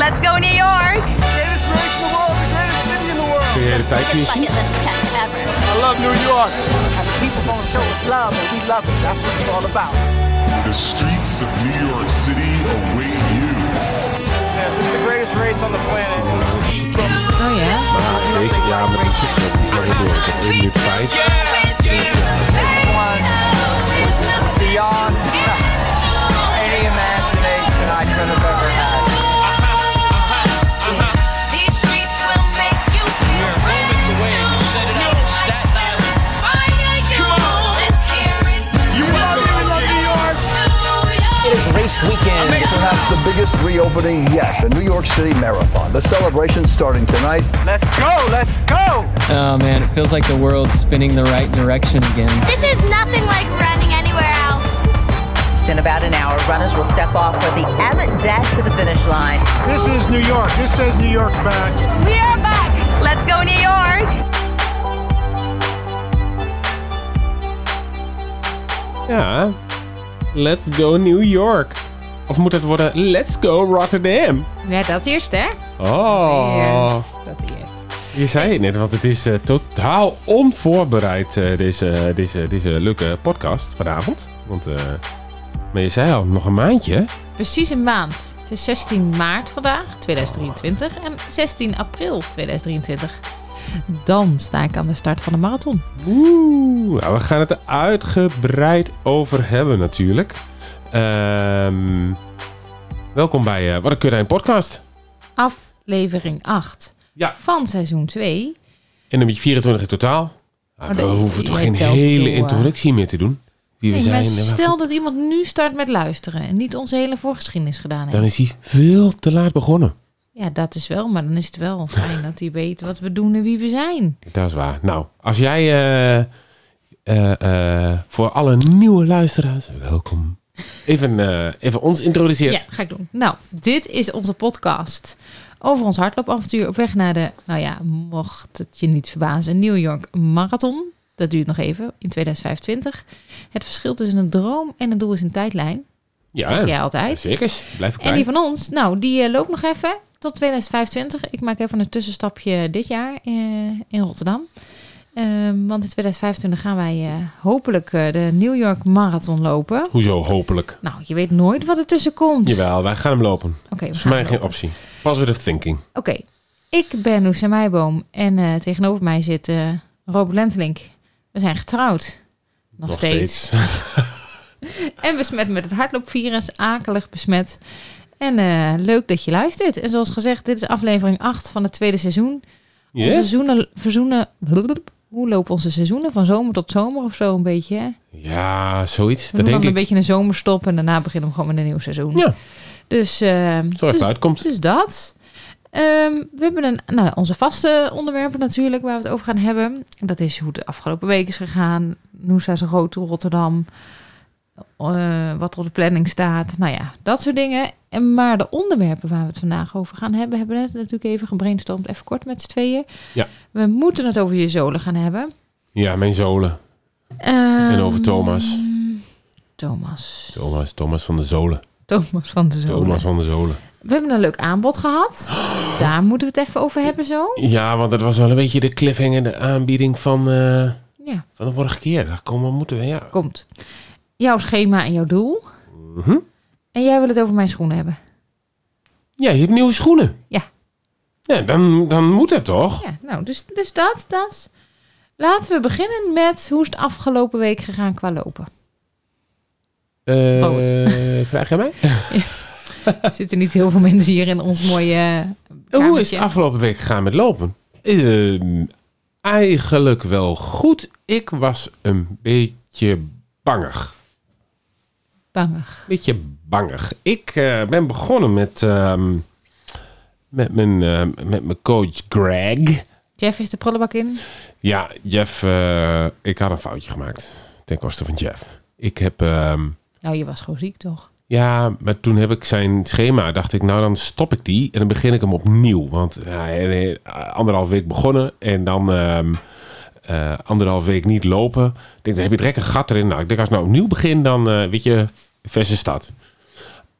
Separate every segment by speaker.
Speaker 1: Let's go New York!
Speaker 2: Greatest race in the world, the greatest city in the world.
Speaker 3: Kun jij de tijd
Speaker 4: Bucket
Speaker 3: kiezen?
Speaker 4: list check ever.
Speaker 2: I love New York. And the people gonna show us love, and we love it. That's what it's all about.
Speaker 5: The streets of New York City await you.
Speaker 2: Yes, it's the greatest race on the planet.
Speaker 6: Oh ja?
Speaker 3: Maar deze jaar met de zoektocht is wel heel door. Ik heb 1 minuut 5.
Speaker 2: Beyond any imagination I could have ever had.
Speaker 7: Perhaps the biggest reopening yet, the New York City Marathon. The celebration starting tonight.
Speaker 2: Let's go, let's go.
Speaker 8: Oh man, it feels like the world's spinning the right direction again.
Speaker 4: This is nothing like running anywhere else.
Speaker 9: In about an hour, runners will step off for the Abbott Dash to the finish line.
Speaker 2: This is New York. This says New York back.
Speaker 1: We are back! Let's go New York!
Speaker 3: Ja. Let's go New York. Of moet het worden Let's go Rotterdam?
Speaker 6: Ja, dat eerst, hè?
Speaker 3: Oh.
Speaker 6: Eerst, dat eerst.
Speaker 3: Je zei het net, want het is eh, totaal onvoorbereid, eh, deze, deze, deze leuke podcast vanavond. Want, eh, maar je zei al, nog een maandje.
Speaker 6: Precies een maand. Het is 16 maart vandaag, 2023. En 16 april 2023. Dan sta ik aan de start van de marathon.
Speaker 3: Oeh, nou, we gaan het er uitgebreid over hebben natuurlijk. Ehm, welkom bij eh, Wat een Kudijn podcast.
Speaker 6: Aflevering 8
Speaker 3: Ja.
Speaker 6: van seizoen 2.
Speaker 3: En dan heb je 24 in totaal. Maar
Speaker 6: Oh,
Speaker 3: we
Speaker 6: dat-
Speaker 3: hoeven toch
Speaker 6: jij
Speaker 3: geen
Speaker 6: telt
Speaker 3: hele
Speaker 6: door.
Speaker 3: introductie meer te doen. Wie we
Speaker 6: Nee, maar
Speaker 3: zijn, en waar-
Speaker 6: stel dat iemand nu start met luisteren en niet onze hele voorgeschiedenis gedaan
Speaker 3: dan
Speaker 6: heeft.
Speaker 3: is hij veel te laat begonnen.
Speaker 6: Ja, dat is wel, maar dan is het wel fijn dat hij weet wat we doen en wie we zijn.
Speaker 3: Dat is waar. Nou, als jij eh, eh, eh, voor alle nieuwe luisteraars, welkom. Even, eh, even ons introduceert.
Speaker 6: Ja, ga ik doen. Nou, dit is onze podcast over ons hardloopavontuur op weg naar de, nou ja, mocht het je niet verbazen, New York Marathon. Dat duurt nog even, in 2025. Het verschil tussen een droom en een doel is een tijdlijn.
Speaker 3: Ja,
Speaker 6: zeg jij altijd.
Speaker 3: Zeker, blijf ik
Speaker 6: En
Speaker 3: bij.
Speaker 6: die van ons, nou, die eh, loopt nog even tot 2025. Ik maak even een tussenstapje dit jaar eh, in Rotterdam. Ehm, want in 2025 gaan wij eh, hopelijk eh, de New York Marathon lopen.
Speaker 3: Hoezo, hopelijk.
Speaker 6: Nou, je weet nooit wat ertussen komt.
Speaker 3: Jawel, wij gaan hem lopen.
Speaker 6: Oké, we
Speaker 3: Dat is voor
Speaker 6: gaan
Speaker 3: mij
Speaker 6: hem
Speaker 3: geen optie. Positive thinking.
Speaker 6: Oké, ik ben Loes Meiboom en eh, tegenover mij zit eh Robert Lentelink. We zijn getrouwd. Nog, steeds. En besmet met het hardloopvirus, akelig besmet. En eh, leuk dat je luistert. En zoals gezegd, dit is aflevering 8 van het tweede seizoen.
Speaker 3: Ja?
Speaker 6: Onze seizoenen, verzoenen, hoe lopen onze seizoenen? Van zomer tot zomer of zo een beetje. hè?
Speaker 3: Ja, zoiets.
Speaker 6: We
Speaker 3: Dat
Speaker 6: doen
Speaker 3: denk
Speaker 6: dan
Speaker 3: ik.
Speaker 6: een beetje een zomerstop en daarna beginnen we gewoon met een nieuw seizoen.
Speaker 3: Ja,
Speaker 6: Dus, eh,
Speaker 3: zo even
Speaker 6: dus,
Speaker 3: uitkomt.
Speaker 6: dus dat. Ehm, we hebben een, nou, onze vaste onderwerpen natuurlijk waar we het over gaan hebben. En dat is hoe het de afgelopen week is gegaan. Noosa zijn groot toe Rotterdam. Eh, wat er op de planning staat. Nou ja, dat soort dingen. En maar de onderwerpen waar we het vandaag over gaan hebben, hebben we net natuurlijk even gebrainstormd. Even kort met z'n tweeën.
Speaker 3: Ja.
Speaker 6: We moeten het over je zolen gaan hebben.
Speaker 3: Ja, mijn zolen.
Speaker 6: Ehm,
Speaker 3: over Thomas.
Speaker 6: Thomas.
Speaker 3: Thomas, Thomas van de Zolen.
Speaker 6: Thomas van de zolen.
Speaker 3: Thomas van de Zolen.
Speaker 6: We hebben een leuk aanbod gehad. Daar moeten we het even over hebben zo.
Speaker 3: Ja, want dat was wel een beetje de cliffhanger, de aanbieding van, eh,
Speaker 6: Ja.
Speaker 3: van de vorige keer. Daar komen we moeten we, ja.
Speaker 6: Komt. Jouw schema en jouw doel.
Speaker 3: Mhm.
Speaker 6: En jij wil het over mijn schoenen hebben.
Speaker 3: Ja, je hebt nieuwe schoenen.
Speaker 6: Ja.
Speaker 3: Ja, dan, dan moet het toch?
Speaker 6: Ja, nou, dus, dus dat, dat. Laten we beginnen met hoe is het afgelopen week gegaan qua lopen.
Speaker 3: Eh,
Speaker 6: Rood.
Speaker 3: vraag jij mij?
Speaker 6: Er zitten niet heel veel mensen hier in ons mooie eh,
Speaker 3: Hoe is
Speaker 6: kamertje.
Speaker 3: het afgelopen week gegaan met lopen? Ehm, eigenlijk wel goed. Ik was een beetje bangig.
Speaker 6: Bangig.
Speaker 3: Beetje bangig. Ik eh, ben begonnen met, ehm, met, mijn, eh, met mijn coach Greg.
Speaker 6: Jeff is de prullenbak in.
Speaker 3: Ja, Jeff, eh, ik had een foutje gemaakt. Ten koste van Jeff. Ik heb. ehm,
Speaker 6: Nou, je was gewoon ziek toch?
Speaker 3: ja, maar toen heb ik zijn schema. Dacht ik, nou dan stop ik die en dan begin ik hem opnieuw. Want ja, eh, eh, anderhalf week begonnen en dan ehm, eh, anderhalf week niet lopen. Ik denk, dan heb je direct een gat erin. Nou, ik denk, als ik nou opnieuw begin, dan eh, weet je, verse stad.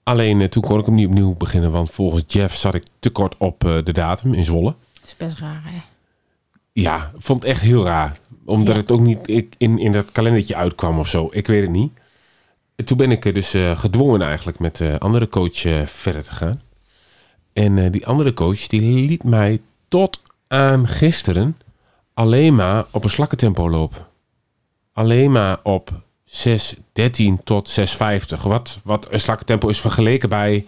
Speaker 3: Alleen eh, toen kon ik hem niet opnieuw beginnen, want volgens Jeff zat ik te kort op eh, de datum in Zwolle.
Speaker 6: is best raar, hè?
Speaker 3: Ja, vond het echt heel raar. Omdat
Speaker 6: Ja.
Speaker 3: het ook niet ik- in, in dat kalendertje uitkwam of zo. Ik weet het niet. En toen ben ik eh, dus eh, gedwongen eigenlijk met de andere coach eh, verder te gaan. En eh, die andere coach die liet mij tot aan gisteren alleen maar op een slakkentempo lopen. Alleen maar op 6.13 tot 6.50. Wat, wat een slakkentempo is vergeleken bij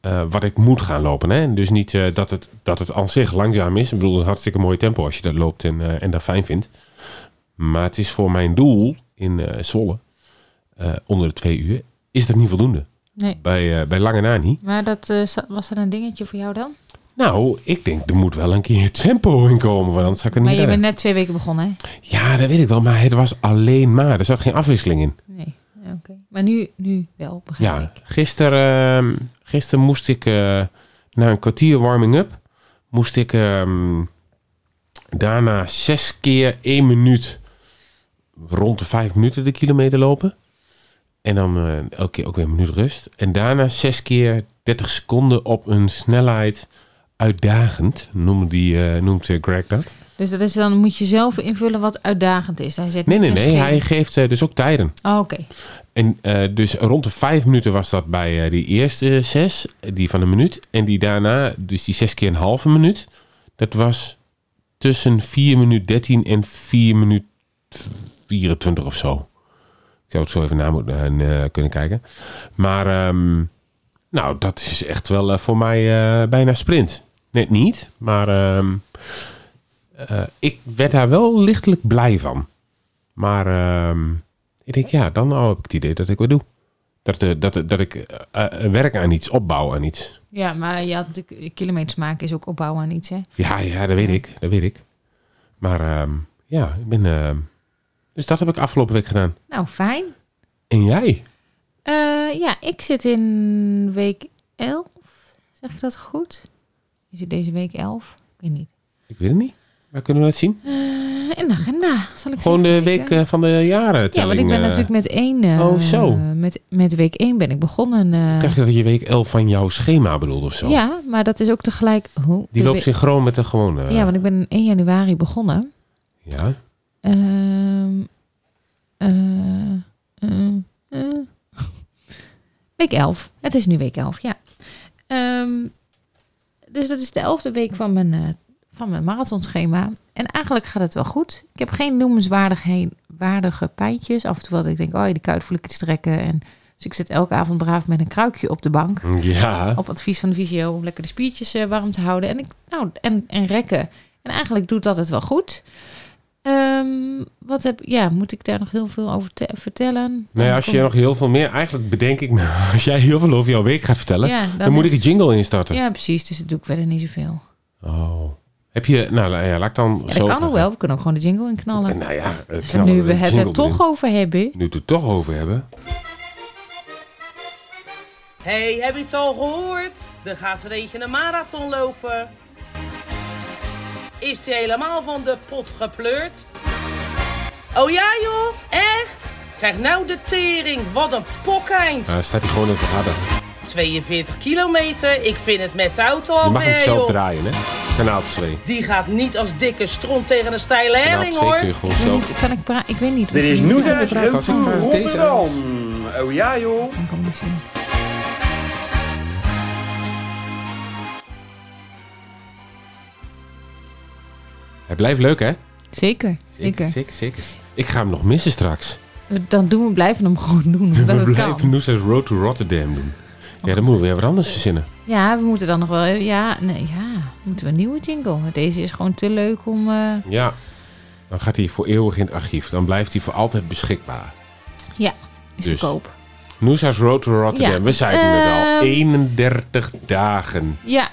Speaker 3: eh, wat ik moet gaan lopen. Hè? Dus niet eh, dat, het, dat het aan zich langzaam is. Ik bedoel, het is een hartstikke mooi tempo als je dat loopt en, eh, en dat fijn vindt. Maar het is voor mijn doel in eh Zwolle, eh, onder de twee uur, is dat niet voldoende.
Speaker 6: Nee.
Speaker 3: Bij, eh, bij lange na niet.
Speaker 6: Maar dat, eh, za- was dat een dingetje voor jou dan?
Speaker 3: Nou, ik denk er moet wel een keer tempo in komen, want anders ga ik er
Speaker 6: Maar
Speaker 3: niet
Speaker 6: je bent
Speaker 3: redden.
Speaker 6: net twee weken begonnen, hè?
Speaker 3: Ja, dat weet ik wel, maar het was alleen maar. Er zat geen afwisseling in.
Speaker 6: Nee. Ja, Oké. Maar nu, nu wel, begrijp
Speaker 3: Ja,
Speaker 6: ik.
Speaker 3: gisteren, ehm, gisteren moest ik eh, na een kwartier warming-up, moest ik ehm, daarna zes keer één minuut rond de vijf minuten de kilometer lopen. En dan eh, elke keer ook weer een minuut rust. En daarna zes keer 30 seconden op een snelheid uitdagend, noemde die, eh, noemt eh, Greg dat.
Speaker 6: Dus dat is dan moet je zelf invullen wat uitdagend is. Hij zegt
Speaker 3: Nee, nee,
Speaker 6: niet een
Speaker 3: nee, hij
Speaker 6: schema.
Speaker 3: geeft eh, dus ook tijden.
Speaker 6: Oh, Oké.
Speaker 3: En eh, dus rond de vijf minuten was dat bij eh, die eerste zes, die van een minuut. En die daarna, dus die zes keer een halve minuut. Dat was tussen 4 minuut 13 en 4 minuut 24 of zo. Ik zou het zo even na moeten eh, kunnen kijken. Maar ehm, nou, dat is echt wel eh, voor mij eh, bijna sprint. Net niet, maar ehm, eh, ik werd daar wel lichtelijk blij van. Maar ehm, ik denk, ja, dan nou heb ik het idee dat ik wat doe. Dat, eh, dat, dat ik eh, eh, werk aan iets, opbouw aan iets.
Speaker 6: Ja, maar je had natuurlijk kilometers maken is ook opbouwen aan iets, hè?
Speaker 3: Ja, ja, dat weet ik. Dat weet ik. Maar ehm, ja, ik ben... ehm, dus dat heb ik afgelopen week gedaan.
Speaker 6: Nou, fijn.
Speaker 3: En jij?
Speaker 6: Eh, ja, ik zit in week 11. Zeg ik dat goed? Is het deze week 11? Ik weet niet.
Speaker 3: Ik weet het niet. Waar kunnen we dat zien?
Speaker 6: Eh, in de agenda. Zal ik
Speaker 3: Gewoon
Speaker 6: eens
Speaker 3: de
Speaker 6: even
Speaker 3: week
Speaker 6: kijken?
Speaker 3: eh, van de jaren.
Speaker 6: Ja, want ik ben natuurlijk met één. eh,
Speaker 3: oh, zo.
Speaker 6: Met, met week 1 ben ik begonnen. eh,
Speaker 3: Ik dacht dat je week 11 van jouw schema bedoelde of zo.
Speaker 6: ja, maar dat is ook tegelijk. Oh, de
Speaker 3: Die loopt eh,
Speaker 6: we-
Speaker 3: synchroon met de gewone.
Speaker 6: Ja, want ik ben 1 januari begonnen.
Speaker 3: Ja?
Speaker 6: Ehm, eh, eh, eh. Week 11. Het is nu week 11, ja. Ehm, dus dat is de elfde week van mijn, eh, van mijn marathonschema. En eigenlijk gaat het wel goed. Ik heb geen noemenswaardige pijntjes. Af en toe dat ik denk, oh, de kuit voel ik het strekken. En, dus ik zit elke avond braaf met een kruikje op de bank
Speaker 3: Ja.
Speaker 6: op advies van de visio om lekker de spiertjes eh, warm te houden en, ik, nou, en, en rekken. En eigenlijk doet dat het wel goed. Ehm, wat heb, ja, moet ik daar nog heel veel over te- vertellen?
Speaker 3: Nou ja, als je nog heel veel meer... Eigenlijk bedenk ik me... Als jij heel veel over jouw week gaat vertellen...
Speaker 6: Ja,
Speaker 3: dan,
Speaker 6: dan
Speaker 3: moet
Speaker 6: is-
Speaker 3: ik de jingle instarten.
Speaker 6: Ja, precies. Dus dat doe ik verder niet zoveel.
Speaker 3: Oh. Heb je... Nou, la- ja, laat ik dan
Speaker 6: Ja,
Speaker 3: zo...
Speaker 6: dat kan
Speaker 3: gaan.
Speaker 6: nog wel. We kunnen ook gewoon de jingle in knallen.
Speaker 3: Nou ja, eh,
Speaker 6: Dus
Speaker 3: knallen
Speaker 6: nu
Speaker 3: we
Speaker 6: we
Speaker 3: de
Speaker 6: het
Speaker 3: jingle
Speaker 6: er toch
Speaker 3: erin.
Speaker 6: over hebben.
Speaker 3: Nu we het er toch over hebben.
Speaker 10: Hey, heb je het al gehoord? Er gaat er eentje een marathon lopen. Is die helemaal van de pot gepleurd? Oh ja joh, echt? Krijg nou de tering, wat een pokkeind.
Speaker 3: Nou, dan staat hij gewoon op de radar.
Speaker 10: 42 kilometer, ik vind het met de auto
Speaker 6: Oh,
Speaker 3: Je mag
Speaker 10: alweer
Speaker 3: hem zelf
Speaker 10: joh.
Speaker 3: draaien, hè? Kanaal 2.
Speaker 10: Die gaat niet als dikke stront tegen een steile
Speaker 3: Kanaal
Speaker 10: helling
Speaker 3: 2 kun je
Speaker 10: hoor.
Speaker 3: gewoon
Speaker 6: Ik weet
Speaker 3: zelf...
Speaker 6: niet, kan ik praten? Ik weet niet. Er
Speaker 2: is nu zijn
Speaker 3: Als ik maar deze aan-
Speaker 2: Oh ja joh.
Speaker 6: kan niet zien.
Speaker 3: Hij blijft leuk, hè?
Speaker 6: Zeker, zeker.
Speaker 3: Zeker, zeker. Ik ga hem nog missen straks.
Speaker 6: Dan doen we blijven hem gewoon doen, omdat
Speaker 3: we
Speaker 6: het
Speaker 3: blijven
Speaker 6: kan.
Speaker 3: Noesa's Road to Rotterdam doen. Ja, dan moeten we weer wat anders verzinnen.
Speaker 6: Ja, we moeten dan nog wel... Ja, nee, ja, moeten we een nieuwe jingle. Want Deze is gewoon te leuk om... eh,
Speaker 3: Ja. Dan gaat hij voor eeuwig in het archief. Dan blijft hij voor altijd beschikbaar.
Speaker 6: Ja, is
Speaker 3: Dus.
Speaker 6: te koop.
Speaker 3: Noesa's Road to Rotterdam.
Speaker 6: Ja,
Speaker 3: We zeiden het al.
Speaker 6: ehm.
Speaker 3: 31 dagen.
Speaker 6: Ja.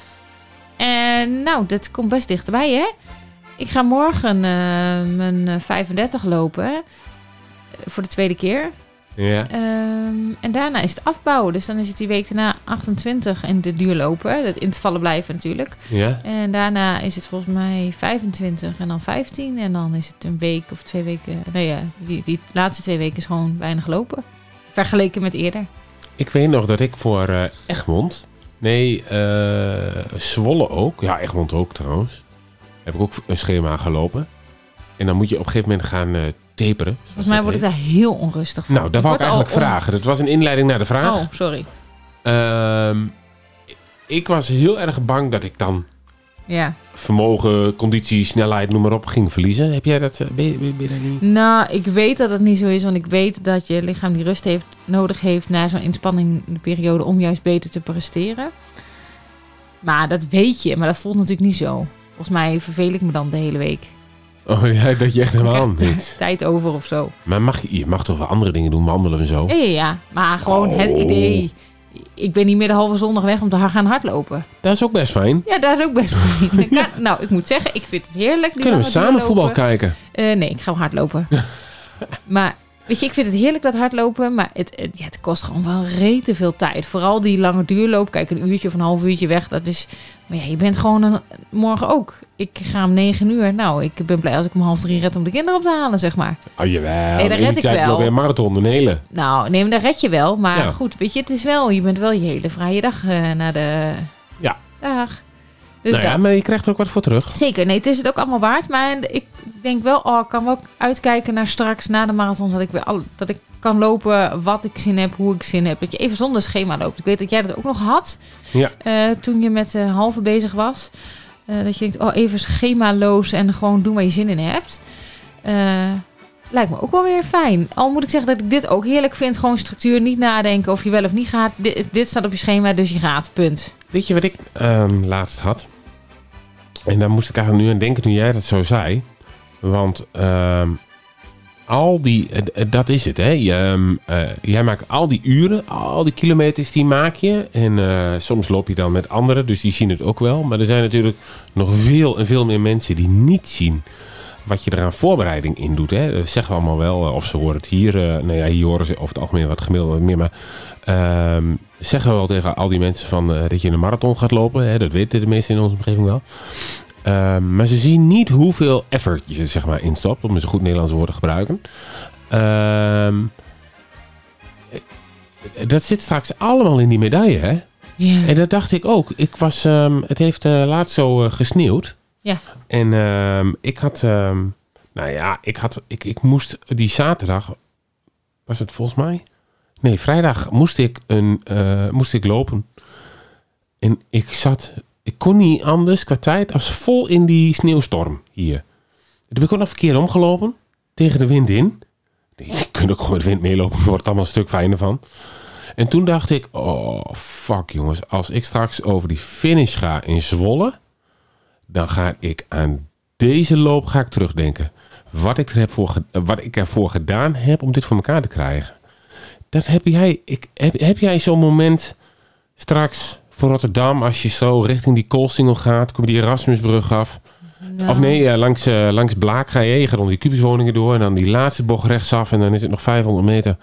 Speaker 6: En nou, dat komt best dichterbij, hè? Ik ga morgen eh, mijn eh, 35 lopen. eh, Voor de tweede keer.
Speaker 3: Ja.
Speaker 6: Ehm, en daarna is het afbouwen. Dus dan is het die week daarna 28 en de duur lopen. Dat intervallen blijven natuurlijk.
Speaker 3: Ja.
Speaker 6: En daarna is het volgens mij 25 en dan 15. En dan is het een week of twee weken. Nee, ja, die, die laatste twee weken is gewoon weinig lopen. Vergeleken met eerder.
Speaker 3: Ik weet nog dat ik voor eh, Egmond. Nee, eh, Zwolle ook. Ja, Egmond ook trouwens. Heb ik ook een schema gelopen. En dan moet je op een gegeven moment gaan eh taperen. zoals
Speaker 6: Volgens mij
Speaker 3: dat
Speaker 6: word ik
Speaker 3: heet.
Speaker 6: daar heel onrustig van.
Speaker 3: Nou, daar wou ik
Speaker 6: word al
Speaker 3: eigenlijk vragen. Dat was een inleiding naar de
Speaker 6: on-
Speaker 3: vraag.
Speaker 6: Oh, sorry.
Speaker 3: Ehm, ik was heel erg bang dat ik dan
Speaker 6: Ja.
Speaker 3: vermogen, conditie, snelheid, noem maar op, ging verliezen. Heb jij dat? eh, Ben je, ben je- ben je daar niet?
Speaker 6: Nou, ik weet dat het niet zo is, want ik weet dat je lichaam die rust heeft, nodig heeft na zo'n inspanningperiode om juist beter te presteren. Maar dat weet je, maar dat voelt natuurlijk niet zo. Volgens mij verveel ik me dan de hele week.
Speaker 3: Oh ja, dat je echt helemaal Oh.
Speaker 6: Ik krijg
Speaker 3: niks.
Speaker 6: tijd over of zo.
Speaker 3: Maar mag, je je mag toch wel andere dingen doen, wandelen en zo?
Speaker 6: Ja, ja, ja. maar gewoon het
Speaker 3: Oh.
Speaker 6: idee. Ik ben niet meer de halve zondag weg om te gaan hardlopen.
Speaker 3: Dat is ook best fijn.
Speaker 6: Ja, daar is ook best fijn. Ik kan- Nou, ik moet zeggen, ik vind het heerlijk. die
Speaker 3: Kunnen we
Speaker 6: lange
Speaker 3: samen
Speaker 6: duurlopen.
Speaker 3: voetbal kijken?
Speaker 6: Eh, nee, ik ga wel hardlopen. maar weet je, ik vind het heerlijk dat hardlopen. Maar het, het, ja, het kost gewoon wel rete veel tijd. Vooral die lange duurloop. Kijk, een uurtje of een half uurtje weg. Dat is. Maar ja, je bent gewoon een, morgen ook. Ik ga om negen uur. Nou, ik ben blij als ik om half drie red om de kinderen op te halen, zeg maar.
Speaker 3: Oh jawel.
Speaker 6: Nee, dat
Speaker 3: In
Speaker 6: red
Speaker 3: die
Speaker 6: ik
Speaker 3: tijd
Speaker 6: wel.
Speaker 3: loop je een marathon, een hele.
Speaker 6: Nou, nee, maar dat red je wel. Maar
Speaker 3: Ja.
Speaker 6: goed, weet je, het is wel. Je bent wel je hele vrije dag eh, na de.
Speaker 3: Ja.
Speaker 6: Dag. Dus
Speaker 3: nou ja,
Speaker 6: dat.
Speaker 3: maar je krijgt er ook wat voor terug.
Speaker 6: Zeker, nee, het is het ook allemaal waard. Maar ik denk wel, oh, ik kan wel uitkijken naar straks na de marathon. Dat ik weer al, dat ik kan lopen wat ik zin heb, hoe ik zin heb. Dat je even zonder schema loopt. Ik weet dat jij dat ook nog had
Speaker 3: Ja.
Speaker 6: eh, toen je met de halve bezig was. Eh, dat je denkt, oh, even schemaloos en gewoon doen waar je zin in hebt. Eh, lijkt me ook wel weer fijn. Al moet ik zeggen dat ik dit ook heerlijk vind. Gewoon structuur, niet nadenken of je wel of niet gaat. Dit, dit staat op je schema, dus je gaat. Punt.
Speaker 3: Weet je wat ik ehm, laatst had? En daar moest ik eigenlijk nu aan denken toen jij dat zo zei. Want ehm, al die... eh, eh, dat is het, hè. Je, ehm, eh, jij maakt al die uren, al die kilometers die maak je. En eh, soms loop je dan met anderen, dus die zien het ook wel. Maar er zijn natuurlijk nog veel en veel meer mensen die niet zien... Wat je eraan voorbereiding in doet. Hè? Dat zeggen we allemaal wel. eh, Of ze horen het hier. eh, nou ja, hier horen ze over het algemeen wat gemiddeld wat meer. Maar ehm, zeggen we wel tegen al die mensen van, eh, dat je een marathon gaat lopen. Hè? Dat weten de meesten in onze omgeving wel. Ehm, maar ze zien niet hoeveel effort je er, zeg maar, instapt. Om eens een goed Nederlands woord te gebruiken. Ehm, eh, dat zit straks allemaal in die medaille. Hè?
Speaker 6: Ja.
Speaker 3: En dat dacht ik ook. Ik was, ehm, het heeft eh, laatst zo eh, gesneeuwd.
Speaker 6: Ja.
Speaker 3: En ehm, ik had, ehm, nou ja, ik, had, ik, ik moest die zaterdag, was het volgens mij? Nee, vrijdag moest ik, een, eh, moest ik lopen. En ik zat, ik kon niet anders qua tijd als vol in die sneeuwstorm hier. Toen ben ik ook nog verkeerd omgelopen, tegen de wind in. Ik denk, Je kunt ook gewoon met wind meelopen, je wordt er allemaal een stuk fijner van. En toen dacht ik, oh fuck jongens, als ik straks over die finish ga in Zwolle, dan ga ik aan deze loop ga ik terugdenken. Wat ik, er heb voor, ge- eh, wat ik ervoor gedaan heb om dit voor elkaar te krijgen. Dat heb jij, ik, heb, heb jij zo'n moment straks voor Rotterdam, als je zo richting die koolsingel gaat, kom je die Erasmusbrug af. Of nee, eh, langs, eh, langs Blaak ga je, je gaat onder die kubuswoningen door en dan die laatste bocht rechtsaf en dan is het nog 500 meter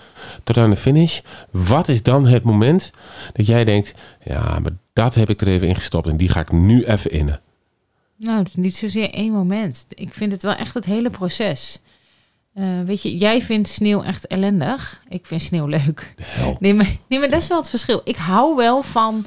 Speaker 3: tot aan de finish. Wat is dan het moment dat jij denkt, ja, maar dat heb ik er even in gestopt en die ga ik nu even innen.
Speaker 6: Nou, het is niet zozeer één moment. Ik vind het wel echt het hele proces. Eh, weet je, jij vindt sneeuw echt ellendig. Ik vind sneeuw leuk. Nee maar, nee, maar dat is wel het verschil. Ik hou wel van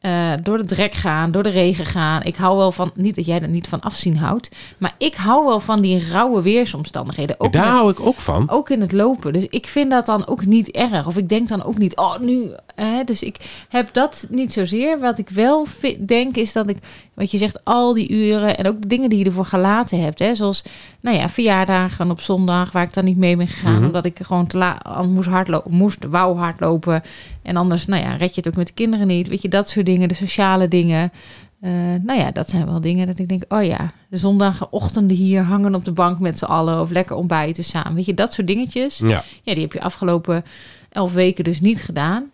Speaker 6: eh, door de drek gaan, door de regen gaan. Ik hou wel van, niet dat jij er niet van afzien houdt, maar ik hou wel van die rauwe weersomstandigheden. Ook
Speaker 3: Daar
Speaker 6: met-
Speaker 3: hou ik ook van.
Speaker 6: ook in het lopen. Dus ik vind dat dan ook niet erg. Of ik denk dan ook niet, oh nu. Hè? Dus ik heb dat niet zozeer. Wat ik wel vi- denk is dat ik, wat je zegt, al die uren en ook de dingen die je ervoor gelaten hebt. Hè? Zoals, nou ja, verjaardagen op zondag waar ik dan niet mee ben gegaan. Omdat ik gewoon te laat aan moest hardlopen, moest, wou hardlopen. En anders, nou ja, red je het ook met de kinderen niet. Weet je, dat soort dingen, de sociale dingen. Eh, nou ja, dat zijn wel dingen dat ik denk, oh ja, de zondagochtenden hier hangen op de bank met z'n allen of lekker ontbijten samen. Weet je, dat soort dingetjes.
Speaker 3: Ja.
Speaker 6: Ja, die heb je afgelopen elf weken dus niet gedaan.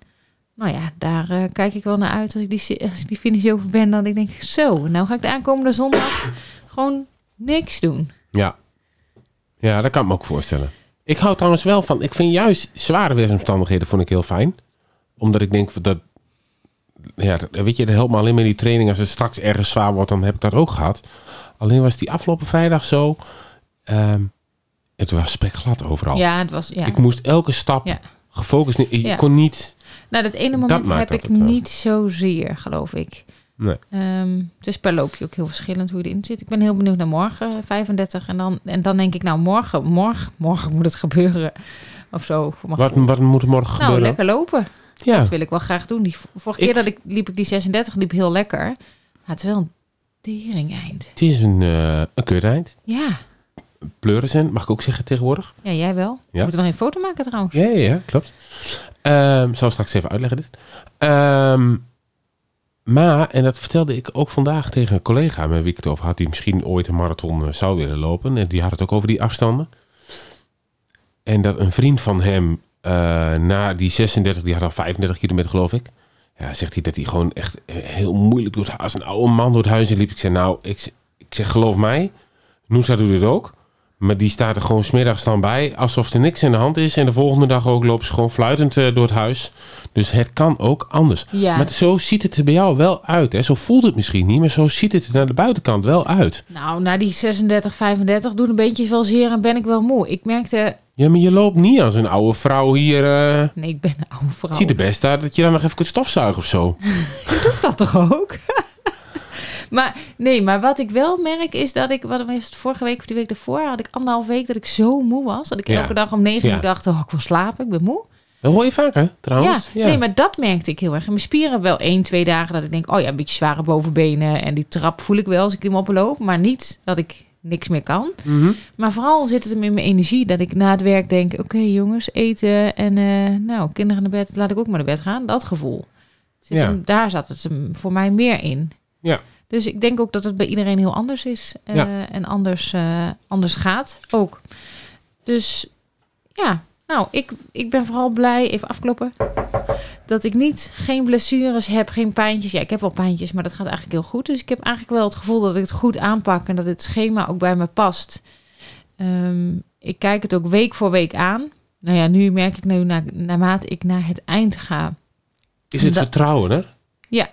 Speaker 6: Nou ja, daar eh, kijk ik wel naar uit als ik, die, si- als ik die finish over ben. Dan ik denk, zo, nou ga ik de aankomende zondag gewoon niks doen.
Speaker 3: Ja. ja, dat kan ik me ook voorstellen. Ik hou trouwens wel van, ik vind juist zware weersomstandigheden vond ik heel fijn. Omdat ik denk, dat, ja, dat- weet je, dat helpt me alleen maar die training. Als het straks ergens zwaar wordt, dan heb ik dat ook gehad. Alleen was die afgelopen vrijdag zo, ehm, het was spekglad overal.
Speaker 6: Ja, het was, ja.
Speaker 3: Ik moest elke stap
Speaker 6: Ja.
Speaker 3: gefocust. ne- Ik
Speaker 6: Ja.
Speaker 3: kon niet.
Speaker 6: Nou, dat ene
Speaker 3: Dat
Speaker 6: moment
Speaker 3: maakt
Speaker 6: heb
Speaker 3: dat
Speaker 6: ik
Speaker 3: het, eh,
Speaker 6: niet zozeer, geloof ik.
Speaker 3: Nee.
Speaker 6: Ehm, het is per loopje ook heel verschillend hoe je erin zit. Ik ben heel benieuwd naar morgen, eh, 35. En dan, en dan denk ik, nou, morgen, morgen, morgen moet het gebeuren. Of zo. voor mijn
Speaker 3: Wat,
Speaker 6: gevoel.
Speaker 3: wat moet er morgen
Speaker 6: nou,
Speaker 3: gebeuren?
Speaker 6: lekker lopen.
Speaker 3: ja.
Speaker 6: Dat wil ik wel graag doen. Die, v- vorige
Speaker 3: Ik-
Speaker 6: keer dat ik liep ik die 36, liep heel lekker. Maar het is wel een tering eind.
Speaker 3: Het is een, eh een keureind.
Speaker 6: Ja.
Speaker 3: Pleurisend, mag ik ook zeggen tegenwoordig.
Speaker 6: ja, jij wel. We
Speaker 3: Ja.
Speaker 6: moeten nog een foto maken trouwens.
Speaker 3: Ja, ja, ja klopt. Ehm zal ik straks even uitleggen dit. Ehm, maar, en dat vertelde ik ook vandaag tegen een collega met wie ik het over had, die misschien ooit een marathon eh, zou willen lopen. En die had het ook over die afstanden. En dat een vriend van hem eh, na die 36, die had al 35 kilometer geloof ik. Ja, zegt hij dat hij gewoon echt eh, heel moeilijk door het huis, als een oude man door het huis liep. Ik zei nou, ik, z- ik zeg geloof mij, Noosa doet het ook. Maar die staat er gewoon smiddags dan bij, alsof er niks in de hand is. En de volgende dag ook lopen ze gewoon fluitend eh, door het huis. Dus het kan ook anders.
Speaker 6: Ja.
Speaker 3: Maar zo ziet het er bij jou wel uit. Hè? Zo voelt het misschien niet, maar zo ziet het er naar de buitenkant wel uit.
Speaker 6: Nou, na die 36, 35 doen de beentjes wel zeer en ben ik wel moe. Ik merkte,
Speaker 3: Ja, maar je loopt niet als een oude vrouw hier. eh.
Speaker 6: nee, ik ben een oude vrouw.
Speaker 3: Het ziet er best uit dat je dan nog even kunt stofzuigen of zo.
Speaker 6: dat toch ook? maar nee, maar wat ik wel merk is dat ik, wat was het vorige week of die week daarvoor, had ik anderhalf week dat ik zo moe was. Dat ik
Speaker 3: Ja.
Speaker 6: elke dag om negen
Speaker 3: Ja.
Speaker 6: uur dacht, oh, ik wil slapen, ik ben moe.
Speaker 3: Dat hoor je vaker,
Speaker 6: Ja,
Speaker 3: trouwens.
Speaker 6: nee, maar dat merkte ik heel erg. En mijn spieren wel één, twee dagen dat ik denk, oh ja, een beetje zware bovenbenen en die trap voel ik wel als ik hem oploop, maar niet dat ik niks meer kan.
Speaker 3: Mhm.
Speaker 6: Maar vooral zit het hem in mijn energie dat ik na het werk denk, oké jongens, eten en eh, nou, kinderen naar bed, laat ik ook maar naar bed gaan. Dat gevoel. Zit
Speaker 3: Ja.
Speaker 6: hem, daar zat het hem voor mij meer in.
Speaker 3: Ja.
Speaker 6: Dus ik denk ook dat het bij iedereen heel anders is eh,
Speaker 3: Ja.
Speaker 6: en anders, eh, anders gaat ook. Dus ja, nou, ik, ik ben vooral blij, even afkloppen, dat ik niet, geen blessures heb, geen pijntjes. Ja, ik heb wel pijntjes, maar dat gaat eigenlijk heel goed. Dus ik heb eigenlijk wel het gevoel dat ik het goed aanpak en dat het schema ook bij me past. Ehm, ik kijk het ook week voor week aan. Nou ja, nu merk ik nu na, naarmate ik naar het eind ga.
Speaker 3: Is het
Speaker 6: dat-
Speaker 3: vertrouwen er?
Speaker 6: Ja.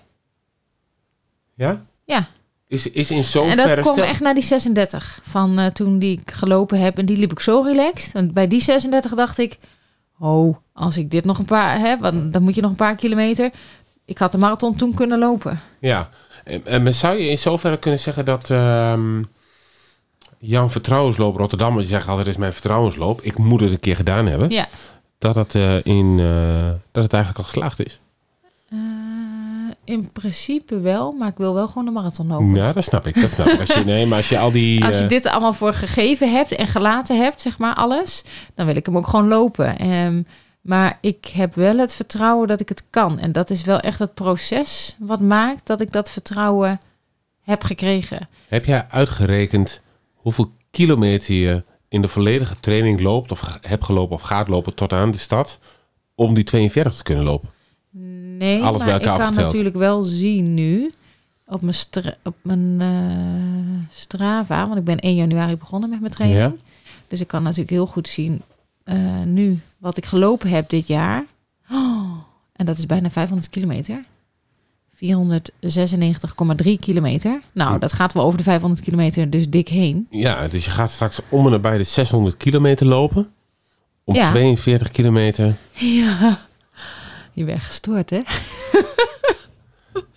Speaker 3: Ja?
Speaker 6: Ja,
Speaker 3: Is, is in zo'n
Speaker 6: en dat
Speaker 3: verre
Speaker 6: kwam
Speaker 3: stel-
Speaker 6: echt na die 36 van eh, toen die ik gelopen heb. En die liep ik zo relaxed. Want bij die 36 dacht ik, oh, als ik dit nog een paar heb, want dan moet je nog een paar kilometer. Ik had de marathon toen kunnen lopen.
Speaker 3: Ja, en, en men zou je in zoverre kunnen zeggen dat ehm, Jan Vertrouwensloop Rotterdam, want je zegt altijd, dit is mijn vertrouwensloop, ik moet het een keer gedaan hebben,
Speaker 6: Ja.
Speaker 3: dat, het, eh, in, eh, dat het eigenlijk al geslaagd is.
Speaker 6: Eh, in principe wel, maar ik wil wel gewoon de marathon lopen.
Speaker 3: Ja, dat snap ik, dat snap ik. Als je, nee, maar als je al die...
Speaker 6: Oh. Als je
Speaker 3: eh,
Speaker 6: dit allemaal voor gegeven hebt en gelaten hebt, zeg maar alles, dan wil ik hem ook gewoon lopen. Ehm, maar ik heb wel het vertrouwen dat ik het kan. En dat is wel echt het proces wat maakt dat ik dat vertrouwen heb gekregen.
Speaker 3: Heb jij uitgerekend hoeveel kilometer je in de volledige training loopt, of ge- hebt gelopen of gaat lopen tot aan de stad, om die 42 te kunnen lopen?
Speaker 6: Nee,
Speaker 3: Alles
Speaker 6: maar
Speaker 3: bij
Speaker 6: ik
Speaker 3: elkaar
Speaker 6: kan
Speaker 3: opgeteld.
Speaker 6: natuurlijk wel zien nu op mijn, stra- op mijn eh, Strava, want ik ben 1 januari begonnen met mijn training.
Speaker 3: Ja.
Speaker 6: Dus ik kan natuurlijk heel goed zien eh, nu wat ik gelopen heb dit jaar. Oh, en dat is bijna 500 kilometer. 496,3 kilometer. Nou, dat gaat wel over de 500 kilometer dus dik heen.
Speaker 3: Ja, dus je gaat straks om en nabij de 600 kilometer lopen, om
Speaker 6: Ja.
Speaker 3: 42 kilometer...
Speaker 6: Ja. Je bent gestoord, hè?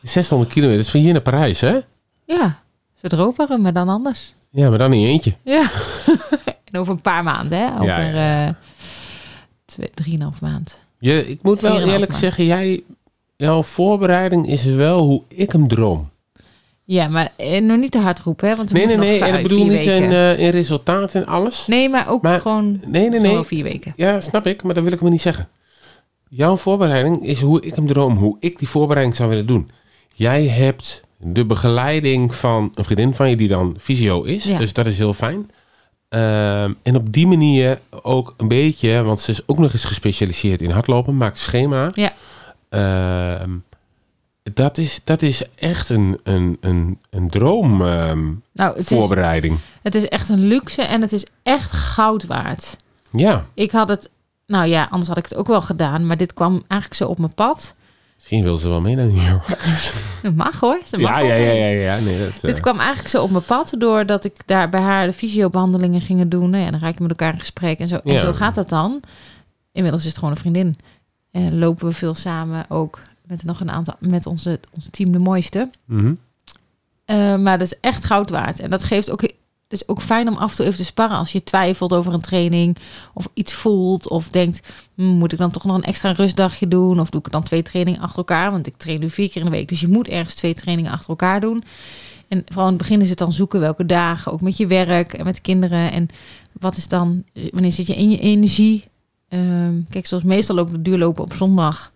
Speaker 3: 600 kilometer, dat is van hier naar Parijs, hè?
Speaker 6: Ja. Ze droperen, maar dan anders.
Speaker 3: Ja, maar dan in je eentje.
Speaker 6: Ja. en over een paar maanden, hè? Over
Speaker 3: Ja, ja,
Speaker 6: eh, twee, drieënhalf maand.
Speaker 3: Je, ik moet wel
Speaker 6: 4,5
Speaker 3: eerlijk
Speaker 6: maand.
Speaker 3: zeggen, jij, jouw voorbereiding is wel hoe ik hem droom.
Speaker 6: Ja, maar eh, nog niet te hard roepen, hè? Want we
Speaker 3: Nee, nee,
Speaker 6: moeten
Speaker 3: nee.
Speaker 6: nog
Speaker 3: En
Speaker 6: vijf,
Speaker 3: ik bedoel
Speaker 6: vier
Speaker 3: niet in,
Speaker 6: weken.
Speaker 3: eh, in resultaat en alles.
Speaker 6: nee, maar ook
Speaker 3: maar-
Speaker 6: gewoon
Speaker 3: Nee, nee,
Speaker 6: nog
Speaker 3: nee.
Speaker 6: wel vier weken.
Speaker 3: Ja, snap ik, maar dat wil ik me niet zeggen. Jouw voorbereiding is hoe ik hem droom, hoe ik die voorbereiding zou willen doen. Jij hebt de begeleiding van een vriendin van je die dan visio is,
Speaker 6: Ja.
Speaker 3: dus dat is heel fijn. Ehm, en op die manier ook een beetje, want ze is ook nog eens gespecialiseerd in hardlopen, maakt schema.
Speaker 6: Ja.
Speaker 3: Ehm, dat, is, dat is echt een, een, een, een droomvoorbereiding.
Speaker 6: Nou, het is,
Speaker 3: voorbereiding.
Speaker 6: het is echt een luxe en het is echt goud waard.
Speaker 3: ja,
Speaker 6: Ik had het, nou ja, anders had ik het ook wel gedaan, maar dit kwam eigenlijk zo op mijn pad.
Speaker 3: misschien wil ze wel mee naar New York.
Speaker 6: Dat mag hoor. dat mag
Speaker 3: Ja, ja,
Speaker 6: ook.
Speaker 3: ja, ja. ja. Nee, dat, eh,
Speaker 6: Dit kwam eigenlijk zo op mijn pad doordat ik daar bij haar de fysiobehandelingen ging doen. Nou ja, dan raak je met elkaar in gesprek en zo.
Speaker 3: Ja.
Speaker 6: En zo gaat dat dan. Inmiddels is het gewoon een vriendin. En lopen we veel samen ook met nog een aantal, met onze, ons team de mooiste.
Speaker 3: Mhm.
Speaker 6: Eh, maar dat is echt goud waard. En dat geeft ook. Het is ook fijn om af en toe even te sparren als je twijfelt over een training. Of iets voelt. Of denkt, "Hmm, moet ik dan toch nog een extra rustdagje doen? Of doe ik dan twee trainingen achter elkaar? Want ik train nu vier keer in de week. Dus je moet ergens twee trainingen achter elkaar doen. En vooral in het begin is het dan zoeken welke dagen. Ook met je werk en met kinderen. En wat is dan, wanneer zit je in je energie? Ehm, kijk, zoals meestal loop ik duurlopen op zondag.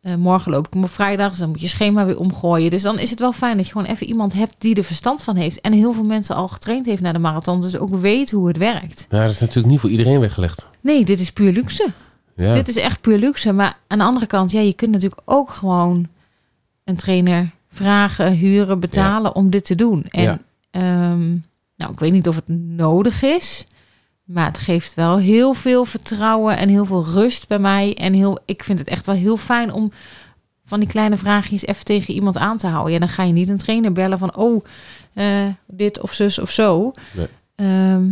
Speaker 6: Eh, morgen loop ik hem op vrijdag, dus dan moet je schema weer omgooien. Dus dan is het wel fijn dat je gewoon even iemand hebt die er verstand van heeft. En heel veel mensen al getraind heeft naar de marathon, dus ook weet hoe het werkt.
Speaker 3: Nou, dat is natuurlijk niet voor iedereen weggelegd.
Speaker 6: Nee, dit is puur luxe.
Speaker 3: Ja.
Speaker 6: Dit is echt puur luxe. Maar aan de andere kant, ja, je kunt natuurlijk ook gewoon een trainer vragen, huren, betalen om dit te doen. En
Speaker 3: Ja.
Speaker 6: ehm, nou, ik weet niet of het nodig is. Maar het geeft wel heel veel vertrouwen en heel veel rust bij mij. En heel, ik vind het echt wel heel fijn om van die kleine vraagjes even tegen iemand aan te houden. Ja, dan ga je niet een trainer bellen van, oh, eh, dit of zus of zo.
Speaker 3: Nee.
Speaker 6: Ehm,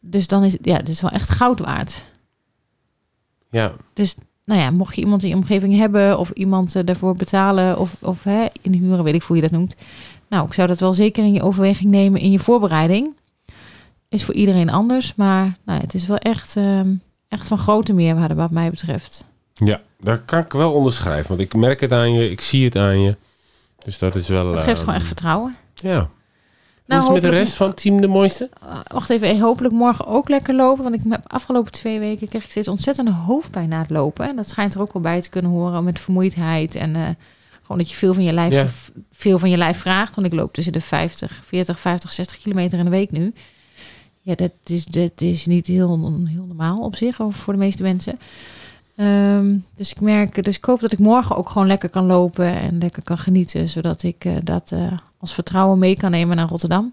Speaker 6: dus dan is het, ja, het is wel echt goud waard.
Speaker 3: ja.
Speaker 6: Dus nou ja, mocht je iemand in je omgeving hebben of iemand eh, daarvoor betalen of, of hè, inhuren, weet ik hoe je dat noemt. Nou, ik zou dat wel zeker in je overweging nemen in je voorbereiding. Is voor iedereen anders, maar nou, ja, het is wel echt, ehm, echt van grote meerwaarde wat mij betreft.
Speaker 3: Ja, daar kan ik wel onderschrijven. Want ik merk het aan je, ik zie het aan je. Dus dat is wel...
Speaker 6: Dat geeft
Speaker 3: eh,
Speaker 6: gewoon echt vertrouwen. Nou,
Speaker 3: Ja. Hoe is het met de
Speaker 6: hopelijk-
Speaker 3: rest van Team de Mooiste?
Speaker 6: Eh, Wacht even, eh, hopelijk morgen ook lekker lopen. Want ik heb de afgelopen twee weken kreeg ik steeds ontzettende hoofdpijn na het lopen. En dat schijnt er ook wel bij te kunnen horen met vermoeidheid. En eh, gewoon dat je veel van je lijf,
Speaker 3: Ja.
Speaker 6: veel van je lijf vraagt. Want ik loop tussen de 50, 40, 50, 60 kilometer in de week nu. Ja, dat is, dat is niet heel, heel normaal op zich of voor de meeste mensen. Ehm, dus ik merk, dus ik hoop dat ik morgen ook gewoon lekker kan lopen en lekker kan genieten. Zodat ik eh, dat eh, als vertrouwen mee kan nemen naar Rotterdam.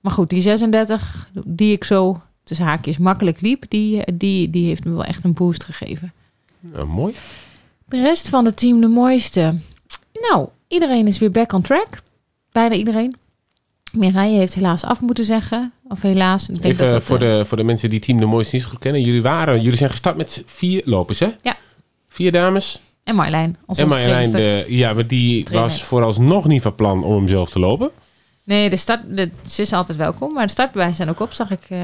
Speaker 6: Maar goed, die 36, die ik zo tussen haakjes makkelijk liep, die, eh, die, die heeft me wel echt een boost gegeven.
Speaker 3: Nou, mooi.
Speaker 6: De rest van het team de mooiste. Nou, iedereen is weer back on track. Bijna iedereen. Mireille heeft helaas af moeten zeggen. Of helaas. Ik denk
Speaker 3: Even
Speaker 6: dat dat,
Speaker 3: voor,
Speaker 6: eh,
Speaker 3: de, voor de mensen die Team de Mooiste niet zo goed kennen. Jullie, waren, jullie zijn gestart met vier lopers, hè?
Speaker 6: Ja.
Speaker 3: Vier dames.
Speaker 6: En Marlijn. Als
Speaker 3: en
Speaker 6: onze
Speaker 3: Marjolein,
Speaker 6: trainster.
Speaker 3: de, ja, maar die
Speaker 6: Trainster.
Speaker 3: was vooralsnog niet van plan om hem zelf te lopen.
Speaker 6: Nee, de start, de, ze is altijd welkom. Maar de startbewijzen zijn ook op, zag ik. eh,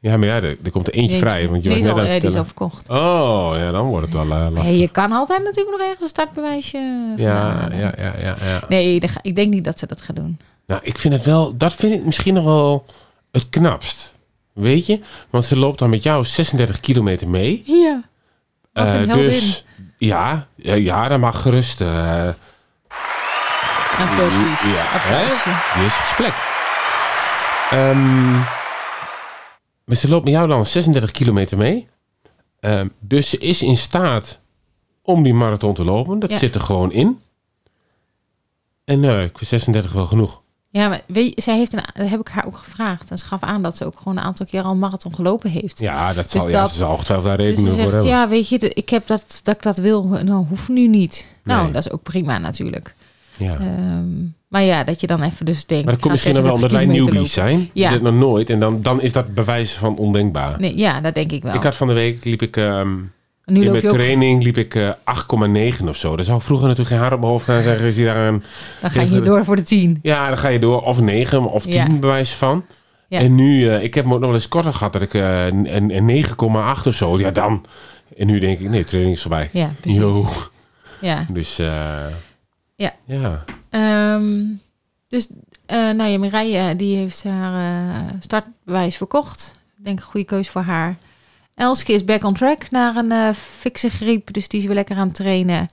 Speaker 3: Ja, maar ja, er, er komt er eentje vrij. Want je
Speaker 6: die,
Speaker 3: was
Speaker 6: is
Speaker 3: net
Speaker 6: al,
Speaker 3: aan
Speaker 6: eh,
Speaker 3: het
Speaker 6: die is al
Speaker 3: vertellen.
Speaker 6: verkocht.
Speaker 3: Oh, ja, dan wordt het wel eh, lastig.
Speaker 6: Hey, je kan altijd natuurlijk nog ergens een startbewijsje vandaan
Speaker 3: ja,
Speaker 6: halen.
Speaker 3: ja, ja, ja, ja.
Speaker 6: Nee, daar ga- ik denk niet dat ze dat gaat doen.
Speaker 3: Nou, ik vind het wel, dat vind ik misschien nog wel het knapst. Weet je? Want ze loopt dan met jou 36 kilometer mee.
Speaker 6: Ja. Wat
Speaker 3: Eh,
Speaker 6: een heldin.
Speaker 3: dus ja, ja, ja, dat mag gerust. eh,
Speaker 6: Ja, precies.
Speaker 3: Ja,
Speaker 6: Applausje.
Speaker 3: hè? Die is op zijn plek. Ehm, maar ze loopt met jou dan 36 kilometer mee. Ehm, dus ze is in staat om die marathon te lopen. Dat
Speaker 6: Ja.
Speaker 3: zit er gewoon in. En nee, ik vind 36 wel genoeg.
Speaker 6: Ja, maar weet je, zij heeft een, dat heb ik haar ook gevraagd. En ze gaf aan dat ze ook gewoon een aantal keer al een marathon gelopen heeft. Dus
Speaker 3: Ja, dat zal, ja,
Speaker 6: dat-
Speaker 3: ze zal ongetwijfeld daar
Speaker 6: dus
Speaker 3: redenen
Speaker 6: ze
Speaker 3: voor
Speaker 6: zegt,
Speaker 3: hebben.
Speaker 6: ja, weet je, de- ik heb dat, dat ik dat wil, nou hoeft nu niet. Nou,
Speaker 3: Nee.
Speaker 6: dat is ook prima natuurlijk.
Speaker 3: Ja.
Speaker 6: Ehm, maar ja, dat je dan even dus
Speaker 3: Maar
Speaker 6: denkt...
Speaker 3: dat
Speaker 6: ik ga
Speaker 3: komt misschien dan wel
Speaker 6: 36
Speaker 3: omdat wij
Speaker 6: kilometer
Speaker 3: newbies
Speaker 6: lopen.
Speaker 3: zijn. Die
Speaker 6: Ja.
Speaker 3: dit nog nooit. En dan, dan is dat bewijs van ondenkbaar.
Speaker 6: Nee, ja, dat denk ik wel.
Speaker 3: Ik had van de week, liep ik ehm,
Speaker 6: nu
Speaker 3: in
Speaker 6: loop
Speaker 3: mijn
Speaker 6: je ook,
Speaker 3: training liep ik eh, 8,9 of zo. Daar zou vroeger natuurlijk geen haar op mijn hoofd aan zeggen. Is die daar een,
Speaker 6: dan ga je door voor de tien.
Speaker 3: ja, dan ga je door. Of 9 of 10
Speaker 6: Ja.
Speaker 3: bewijs van.
Speaker 6: Ja.
Speaker 3: En nu, eh, ik heb me ook nog wel eens korter gehad dat ik eh, een, een 9,8 of zo. Ja, dan. En nu denk ik, nee, training is voorbij.
Speaker 6: Ja, precies.
Speaker 3: Yo.
Speaker 6: Ja.
Speaker 3: Dus eh,
Speaker 6: Ja.
Speaker 3: ja.
Speaker 6: Ehm, dus, eh nou ja, Mireille die heeft haar eh, startbewijs verkocht. Ik denk een goede keuze voor haar. Elske is back on track naar een eh fikse griep, dus die is weer lekker aan het trainen.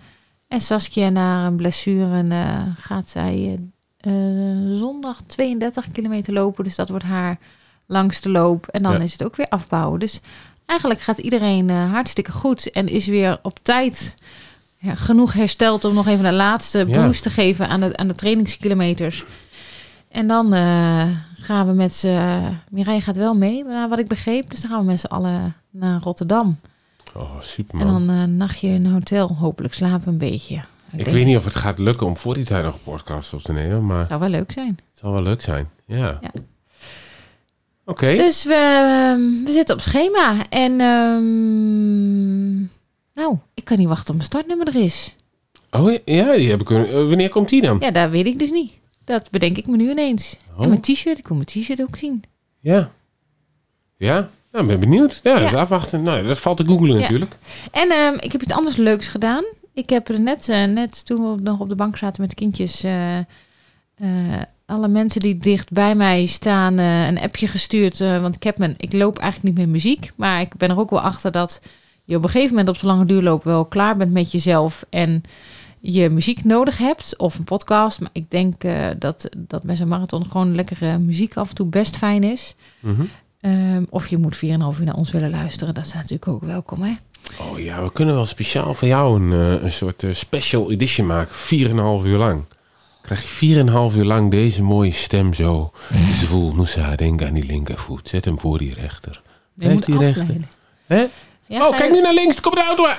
Speaker 6: En Saskia naar een blessure en, eh, gaat zij eh, eh, zondag 32 kilometer lopen. Dus dat wordt haar langste loop. En dan
Speaker 3: Ja.
Speaker 6: is het ook weer afbouwen. Dus eigenlijk gaat iedereen eh, hartstikke goed en is weer op tijd ja, genoeg hersteld om nog even een laatste
Speaker 3: Ja.
Speaker 6: boost te geven aan de, aan de trainingskilometers. En dan eh, gaan we met z'n... eh, Mireille gaat wel mee, naar wat ik begreep. Dus dan gaan we met z'n allen naar Rotterdam.
Speaker 3: Oh, super
Speaker 6: En dan eh, een nachtje in een hotel. Hopelijk slapen een beetje.
Speaker 3: Ik weet niet of het gaat lukken om voor die tijd nog een podcast op te nemen, maar
Speaker 6: zou wel leuk zijn.
Speaker 3: het zal wel leuk zijn. Ja.
Speaker 6: Ja.
Speaker 3: Oké.
Speaker 6: Dus we, ehm, we zitten op schema. En ehm, Nou, ik kan niet wachten tot mijn startnummer er is.
Speaker 3: Oh ja, ja, die heb ik. eh, wanneer komt die dan?
Speaker 6: Ja, daar weet ik dus niet. Dat bedenk ik me nu ineens.
Speaker 3: Oh.
Speaker 6: En mijn t-shirt, ik kon mijn t-shirt ook zien.
Speaker 3: Ja. Ja? Nou, ik ben benieuwd. Ja, dat is
Speaker 6: Ja.
Speaker 3: afwachten. Nou, dat valt te googlen
Speaker 6: Ja.
Speaker 3: natuurlijk.
Speaker 6: En ehm, ik heb iets anders leuks gedaan. Ik heb er net, eh, net toen we nog op de bank zaten met de kindjes, eh, eh, alle mensen die dicht bij mij staan, eh, een appje gestuurd. eh, want ik, heb mijn, ik loop eigenlijk niet met muziek, maar ik ben er ook wel achter dat je op een gegeven moment op de lange duurloop wel klaar bent met jezelf en je muziek nodig hebt of een podcast. Maar ik denk eh, dat, dat bij zo'n marathon gewoon lekkere muziek af en toe best fijn is.
Speaker 3: Mhm.
Speaker 6: Ehm, of je moet 4,5 uur naar ons willen luisteren. Dat is natuurlijk ook welkom, hè?
Speaker 3: Oh ja, we kunnen wel speciaal voor jou een, eh, een soort eh, special edition maken. 4,5 uur lang. Krijg je 4,5 uur lang deze mooie stem zo. Zwoel, Noosa, denk aan die linkervoet. Zet hem voor die rechter.
Speaker 6: Je moet
Speaker 3: Blijft die rechter.
Speaker 6: afleiden.
Speaker 3: Hè?
Speaker 6: Ja,
Speaker 3: oh,
Speaker 6: ga je-
Speaker 3: kijk nu naar links, er komt de auto aan.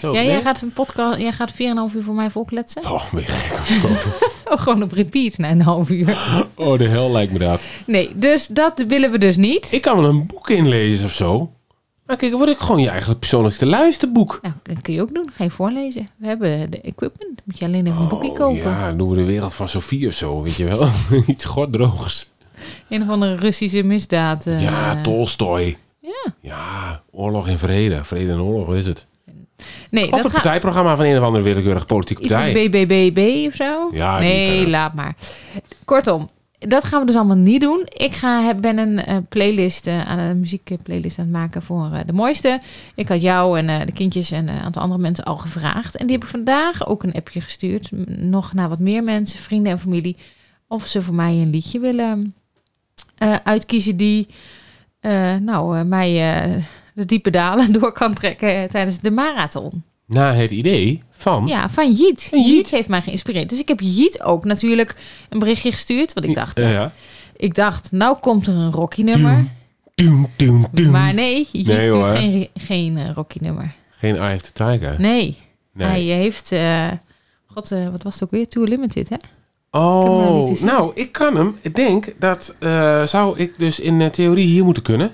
Speaker 3: Zo,
Speaker 6: Ja,
Speaker 3: nee?
Speaker 6: jij gaat een podcast, jij gaat 4,5 uur voor mij volkletsen.
Speaker 3: Oh, ben je gek of zo?
Speaker 6: Oh, gewoon op repeat na een half uur.
Speaker 3: Oh, de hel lijkt me dat.
Speaker 6: Nee, dus dat willen we dus niet.
Speaker 3: Ik kan wel een boek inlezen of zo. Maar kijk, dan word ik gewoon je eigen persoonlijkste luisterboek.
Speaker 6: Nou, dat kun je ook doen. Ga je voorlezen. We hebben de equipment. Moet je alleen even een boekje
Speaker 3: Oh,
Speaker 6: kopen.
Speaker 3: Ja, doen we de wereld van Sofie of zo, weet je wel. Iets goddroogs.
Speaker 6: Een of andere Russische misdaad. eh,
Speaker 3: ja, Tolstoy.
Speaker 6: Ja.
Speaker 3: Ja, oorlog en vrede. Vrede en oorlog, wat is het?
Speaker 6: Nee,
Speaker 3: Of
Speaker 6: dat
Speaker 3: het
Speaker 6: gaat
Speaker 3: partijprogramma van een of andere willekeurige politieke
Speaker 6: iets van
Speaker 3: partij.
Speaker 6: BBBB of zo.
Speaker 3: Ja, die eh.
Speaker 6: nee,
Speaker 3: kan-
Speaker 6: laat maar. Kortom, dat gaan we dus allemaal niet doen. Ik ga, ben een eh, playlist, eh, aan een muziekplaylist aan het maken voor eh, de mooiste. Ik had jou en eh, de kindjes en eh, een aantal andere mensen al gevraagd. En die heb ik vandaag ook een appje gestuurd. m- Nog naar wat meer mensen, vrienden en familie. Of ze voor mij een liedje willen eh, uitkiezen die eh, nou, eh, mij eh, de diepe dalen door kan trekken eh, tijdens de marathon.
Speaker 3: Na het idee van...
Speaker 6: Ja, van Jiet.
Speaker 3: Hm? Van Jiet.
Speaker 6: Jiet heeft mij geïnspireerd. Dus ik heb Jiet ook natuurlijk een berichtje gestuurd. Want ik dacht,
Speaker 3: Ja,
Speaker 6: eh,
Speaker 3: ja.
Speaker 6: ik dacht nou komt er een Rocky-nummer.
Speaker 3: Doem, doem, doem.
Speaker 6: Maar nee, Jiet
Speaker 3: Nee,
Speaker 6: doet
Speaker 3: hoor.
Speaker 6: geen, geen eh, Rocky-nummer.
Speaker 3: Geen Eye of the Tiger.
Speaker 6: Nee.
Speaker 3: Nee.
Speaker 6: Hij heeft... eh, God, eh, wat was het ook weer? Too Limited, hè? hem nou niet
Speaker 3: Oh,
Speaker 6: eens zien.
Speaker 3: nou, ik kan hem. Ik denk dat eh, zou ik dus in eh, theorie hier moeten kunnen.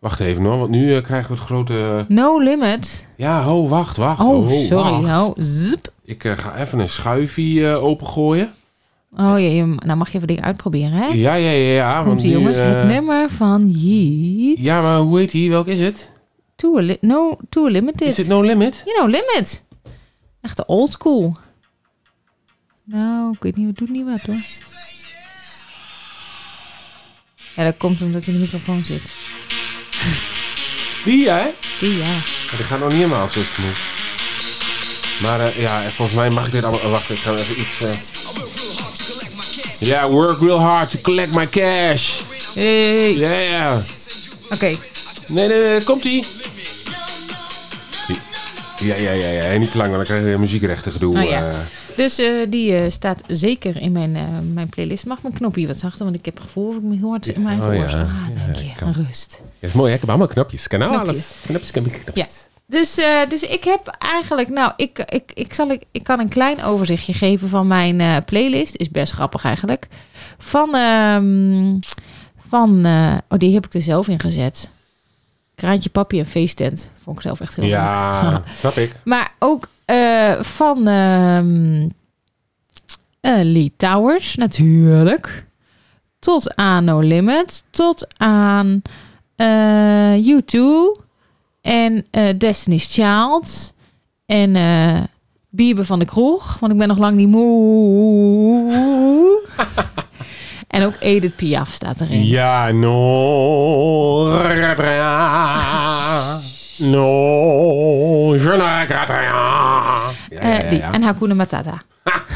Speaker 3: Wacht even hoor, want nu eh, krijgen we het grote...
Speaker 6: No Limit.
Speaker 3: Ja, ho, wacht, wacht.
Speaker 6: Oh,
Speaker 3: ho,
Speaker 6: sorry.
Speaker 3: wacht.
Speaker 6: Nou, zup.
Speaker 3: Ik eh, ga even een schuifje eh, opengooien.
Speaker 6: Oh, je, je- nou mag je even dingen uitproberen, hè?
Speaker 3: Ja, ja, ja, ja. want
Speaker 6: Komt ie,
Speaker 3: nu,
Speaker 6: jongens.
Speaker 3: eh,
Speaker 6: Het nummer van Jiet.
Speaker 3: Ja, maar hoe heet die? Welk is het?
Speaker 6: Too, Li- no, Too Limited.
Speaker 3: Is het No Limit?
Speaker 6: You know, limit. Echt de old school. Nou, ik weet niet, het doet niet wat hoor. Ja, dat komt omdat hij in de microfoon zit.
Speaker 3: Die, hè?
Speaker 6: Die ja.
Speaker 3: Maar die gaat nog niet helemaal zoals het moet. Maar eh, ja, volgens mij mag ik dit allemaal... oh, Wacht, ik ga even iets... eh. Ja, work real hard to collect my cash.
Speaker 6: Hey.
Speaker 3: Yeah.
Speaker 6: Oké,
Speaker 3: Nee, nee, nee, komt ie. Ja, ja, ja, ja. En niet te lang, want dan krijg je weer muziekrechten gedoe.
Speaker 6: nou ja.
Speaker 3: eh.
Speaker 6: Dus eh, die eh, staat zeker in mijn, eh, mijn playlist. Mag mijn knopje wat zachter, want ik heb het gevoel dat ik me heel hard in mijn
Speaker 3: Oh, ja.
Speaker 6: gehoor... Ah,
Speaker 3: Ja,
Speaker 6: dank
Speaker 3: ja,
Speaker 6: je.
Speaker 3: kan.
Speaker 6: Rust.
Speaker 3: Ja, is mooi, hè? Ik heb allemaal knopjes. Kanaal,
Speaker 6: Knopjes.
Speaker 3: alles. Knopjes, knopjes,
Speaker 6: Ja.
Speaker 3: knopjes.
Speaker 6: Dus, eh, dus ik heb eigenlijk, nou, ik, ik, ik, zal, ik, ik kan een klein overzichtje geven van mijn eh, playlist. Is best grappig eigenlijk. Van, ehm, van eh, oh, die heb ik er zelf in gezet. Kraantje papi en feesttent. Vond ik zelf echt heel leuk.
Speaker 3: Ja, snap ik.
Speaker 6: Maar ook eh, van ehm eh, Lee Towers natuurlijk. Tot aan No Limit. Tot aan eh, U2. En eh, Destiny's Child. En eh Bieber van de Kroeg. Want ik ben nog lang niet moe. en ook Edith Piaf staat erin.
Speaker 3: Ja,
Speaker 6: Eh,
Speaker 3: no. No. je ne regrette rien. Ja,
Speaker 6: Eh,
Speaker 3: ja,
Speaker 6: die.
Speaker 3: ja,
Speaker 6: En Hakuna Matata.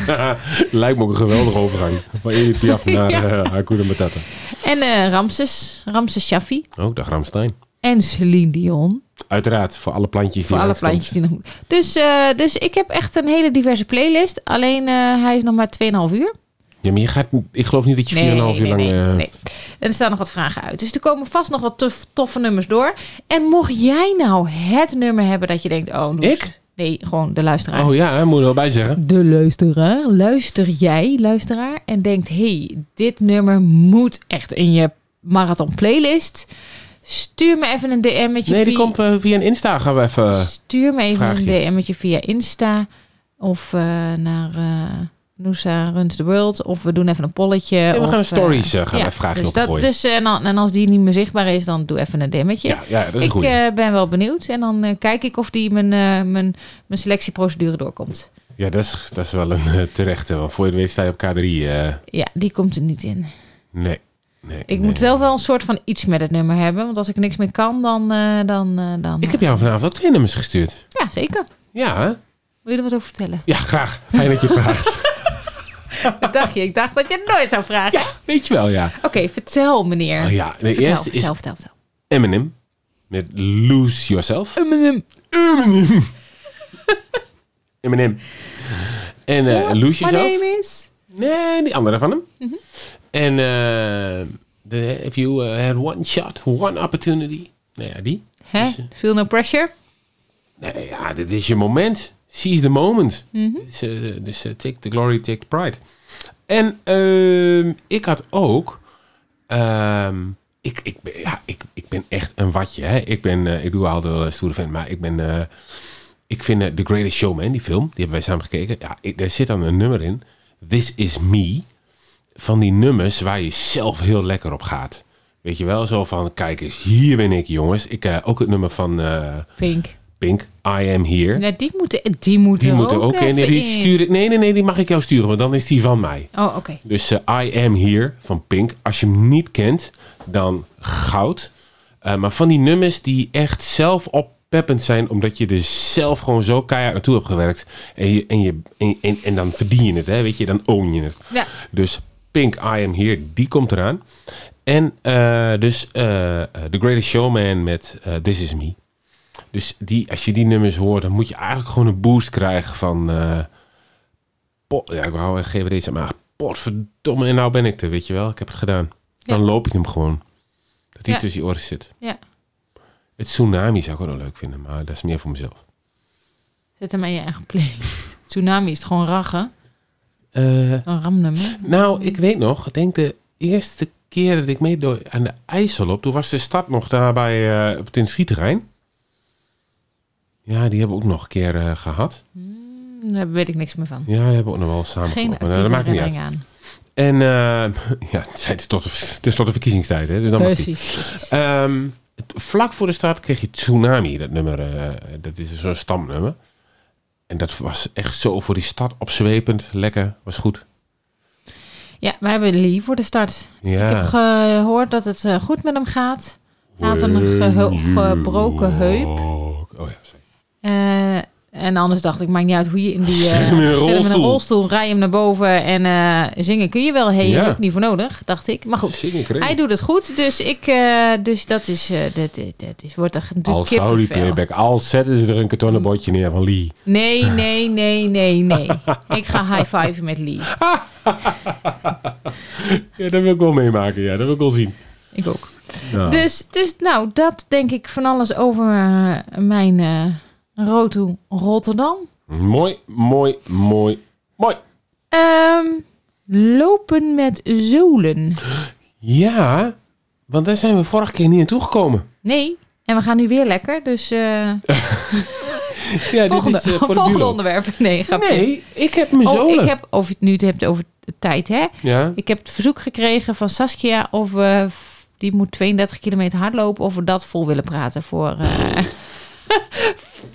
Speaker 3: ja. Lijkt me ook een geweldige overgang. Van Edith Piaf naar eh, Hakuna Matata.
Speaker 6: En eh, Ramses. Ramses Shaffi.
Speaker 3: Ook dag Ramstein.
Speaker 6: En Celine Dion.
Speaker 3: Uiteraard, voor alle plantjes
Speaker 6: Voor
Speaker 3: die
Speaker 6: alle
Speaker 3: langskomen.
Speaker 6: plantjes die nog moeten. Dus, eh, dus ik heb echt een hele diverse playlist. Alleen eh, hij is nog maar 2,5 uur.
Speaker 3: Ja, maar je gaat, ik geloof niet dat je 4,5 uur lang...
Speaker 6: nee,
Speaker 3: eh,
Speaker 6: nee. En er staan nog wat vragen uit. Dus er komen vast nog wat tuf- toffe nummers door. En mocht jij nou het nummer hebben dat je denkt... Oh, Noes.
Speaker 3: Ik?
Speaker 6: Nee, gewoon de luisteraar.
Speaker 3: Oh ja, hè, moet je er wel bij zeggen.
Speaker 6: De luisteraar. Luister jij, luisteraar. En denkt, hey, dit nummer moet echt in je marathon playlist. Stuur me even een DM'tje.
Speaker 3: Nee, die
Speaker 6: via-
Speaker 3: komt eh, via een Insta. Gaan we even... eh,
Speaker 6: Stuur me even
Speaker 3: vraagje.
Speaker 6: een DM'tje via Insta of eh, naar eh Noosa Runs the World. Of we doen even een polletje.
Speaker 3: we
Speaker 6: of,
Speaker 3: gaan
Speaker 6: eh,
Speaker 3: stories, eh, gaan we vragen
Speaker 6: dus, dat,
Speaker 3: opgooien.
Speaker 6: dus eh, en, dan- en als die niet meer zichtbaar is, dan doe even een DM'tje.
Speaker 3: Ja, ja, dat is
Speaker 6: ik
Speaker 3: goed.
Speaker 6: eh, ben wel benieuwd. En dan eh, kijk ik of die mijn, eh, mijn, mijn selectieprocedure doorkomt.
Speaker 3: Ja, dat is, dat is wel een eh, terechte. Want voor je het weet sta je op K3. eh,
Speaker 6: Ja, die komt er niet in.
Speaker 3: nee. nee.
Speaker 6: Ik
Speaker 3: nee.
Speaker 6: moet zelf wel een soort van iets met het nummer hebben. Want als ik niks meer kan, dan... eh, dan, eh, dan eh,
Speaker 3: Ik heb jou vanavond ook twee nummers gestuurd.
Speaker 6: Ja, zeker.
Speaker 3: Ja, hè?
Speaker 6: Wil je er wat over vertellen?
Speaker 3: ja graag. Fijn dat je vraagt.
Speaker 6: Dat dacht je. Ik dacht dat je het nooit zou vragen.
Speaker 3: Ja, weet je wel, ja.
Speaker 6: Oké, vertel meneer.
Speaker 3: Oh, ja. De
Speaker 6: Vertel,
Speaker 3: eerste is
Speaker 6: vertel, vertel, vertel.
Speaker 3: Eminem. Met Lose Yourself.
Speaker 6: Eminem.
Speaker 3: Eminem. En eh
Speaker 6: Oh,
Speaker 3: Lose
Speaker 6: My
Speaker 3: Yourself.
Speaker 6: name is...
Speaker 3: Nee, die andere van hem.
Speaker 6: Mhm.
Speaker 3: En eh the, if you eh, had one shot, one opportunity. Nou ja, die.
Speaker 6: Hè?
Speaker 3: Dus, eh,
Speaker 6: Feel no pressure.
Speaker 3: Nee, ja, dit is je moment. Seize the moment. Dus, eh, dus eh, take the glory, take the pride. En ehm, ik had ook... ehm, ik, ik, ben, ja, ik, ik ben echt een watje. Hè? Ik, ben, eh, ik doe altijd wel een stoere vent, maar ik ben... eh, ik vind eh, The Greatest Showman, die film, die hebben wij samen gekeken. Ja, ik, daar zit dan een nummer in. This Is Me. Van die nummers waar je zelf heel lekker op gaat. Weet je wel, zo van, kijk eens, hier ben ik jongens. Ik, eh, ook het nummer van... eh,
Speaker 6: Pink.
Speaker 3: Pink, I am here.
Speaker 6: Ja, die moeten, die moeten
Speaker 3: die moet
Speaker 6: er
Speaker 3: er ook in.
Speaker 6: even
Speaker 3: Nee, die stuur ik, nee, nee, nee, die mag ik jou sturen, want dan is die van mij.
Speaker 6: Oh, oké.
Speaker 3: Dus eh, I am here van Pink. Als je hem niet kent, dan goud. Eh, maar van die nummers die echt zelf oppeppend zijn, omdat je er zelf gewoon zo keihard naartoe hebt gewerkt. En, je, en, je, en, en, en dan verdien je het, hè, weet je, dan own je het.
Speaker 6: Ja.
Speaker 3: Dus Pink, I am here, die komt eraan. En eh, dus eh, eh, The Greatest Showman met eh, This Is Me. Dus die, als je die nummers hoort, dan moet je eigenlijk gewoon een boost krijgen van... eh, pot, ja, ik wou echt GWD zeggen, maar potverdomme, en nou ben ik er, weet je wel. Ik heb het gedaan. Dan
Speaker 6: Ja.
Speaker 3: loop ik hem gewoon. Dat hij
Speaker 6: Ja.
Speaker 3: tussen je oren zit.
Speaker 6: Ja.
Speaker 3: Het tsunami zou ik ook wel leuk vinden, maar dat is meer voor mezelf.
Speaker 6: Zet hem in je eigen playlist. Tsunami is het gewoon rachen.
Speaker 3: Eh,
Speaker 6: Een ramnummer.
Speaker 3: nou, ik weet nog, ik denk de eerste keer dat ik mee door aan de IJssel op, toen was de stad nog daar bij, eh, op het industrieterrein. Ja, die hebben we ook nog een keer eh, gehad.
Speaker 6: Daar weet ik niks meer van.
Speaker 3: Ja, die hebben we ook nog wel samen
Speaker 6: Geen
Speaker 3: gelopen, maar Nou, dat
Speaker 6: actieve
Speaker 3: maakt niet uit.
Speaker 6: herinnering aan.
Speaker 3: En eh, ja, het zijn tot, het is tot de verkiezingstijd, hè, dus dan mag die.
Speaker 6: Precies. precies.
Speaker 3: Ehm, t- vlak voor de start kreeg je Tsunami, dat nummer. eh, dat is zo'n stamnummer. En dat was echt zo voor die stad opzwepend. Lekker, was goed.
Speaker 6: Ja, wij hebben Lee voor de start. Ik
Speaker 3: Ja.
Speaker 6: heb gehoord dat het eh, goed met hem gaat. Hij had een geheu- eh, gebroken heup.
Speaker 3: Oh ja, sorry.
Speaker 6: Eh, en anders dacht ik, maakt niet uit hoe je in die... eh,
Speaker 3: Zet hem in een
Speaker 6: zet hem in een
Speaker 3: rolstoel.
Speaker 6: rolstoel, rij hem naar boven en eh, zingen kun je wel. Hey,
Speaker 3: Ja.
Speaker 6: heb ik niet voor nodig, dacht ik. Maar goed,
Speaker 3: Zingen kreeg.
Speaker 6: hij doet het goed. Dus, ik, eh, dus dat is... eh, dat, dat, dat is wordt echt een
Speaker 3: Al zou die
Speaker 6: kippenvel.
Speaker 3: playback, al zetten ze er een kartonnen bordje neer van Lee.
Speaker 6: Nee, nee, nee, nee, nee. ik ga high-fiven met Lee.
Speaker 3: Ja, dat wil ik wel meemaken. Ja, dat wil ik wel zien.
Speaker 6: Ik ook.
Speaker 3: Nou,
Speaker 6: Dus, dus nou, dat denk ik van alles over eh, mijn eh road to Rotterdam.
Speaker 3: Mooi, mooi, mooi, mooi.
Speaker 6: Ehm, lopen met zolen.
Speaker 3: Ja, want daar zijn we vorige keer niet aan toegekomen.
Speaker 6: Nee. En we gaan nu weer lekker, dus eh,
Speaker 3: Ja,
Speaker 6: volgende,
Speaker 3: eh, voor de
Speaker 6: volgende
Speaker 3: bureau.
Speaker 6: onderwerp. Nee, grapje.
Speaker 3: Nee, ik heb mijn
Speaker 6: Oh,
Speaker 3: zolen.
Speaker 6: ik heb, of je het nu het hebt over de tijd, hè.
Speaker 3: Ja.
Speaker 6: Ik heb het verzoek gekregen van Saskia of we, f- die moet 32 kilometer hardlopen, of we dat vol willen praten voor... eh,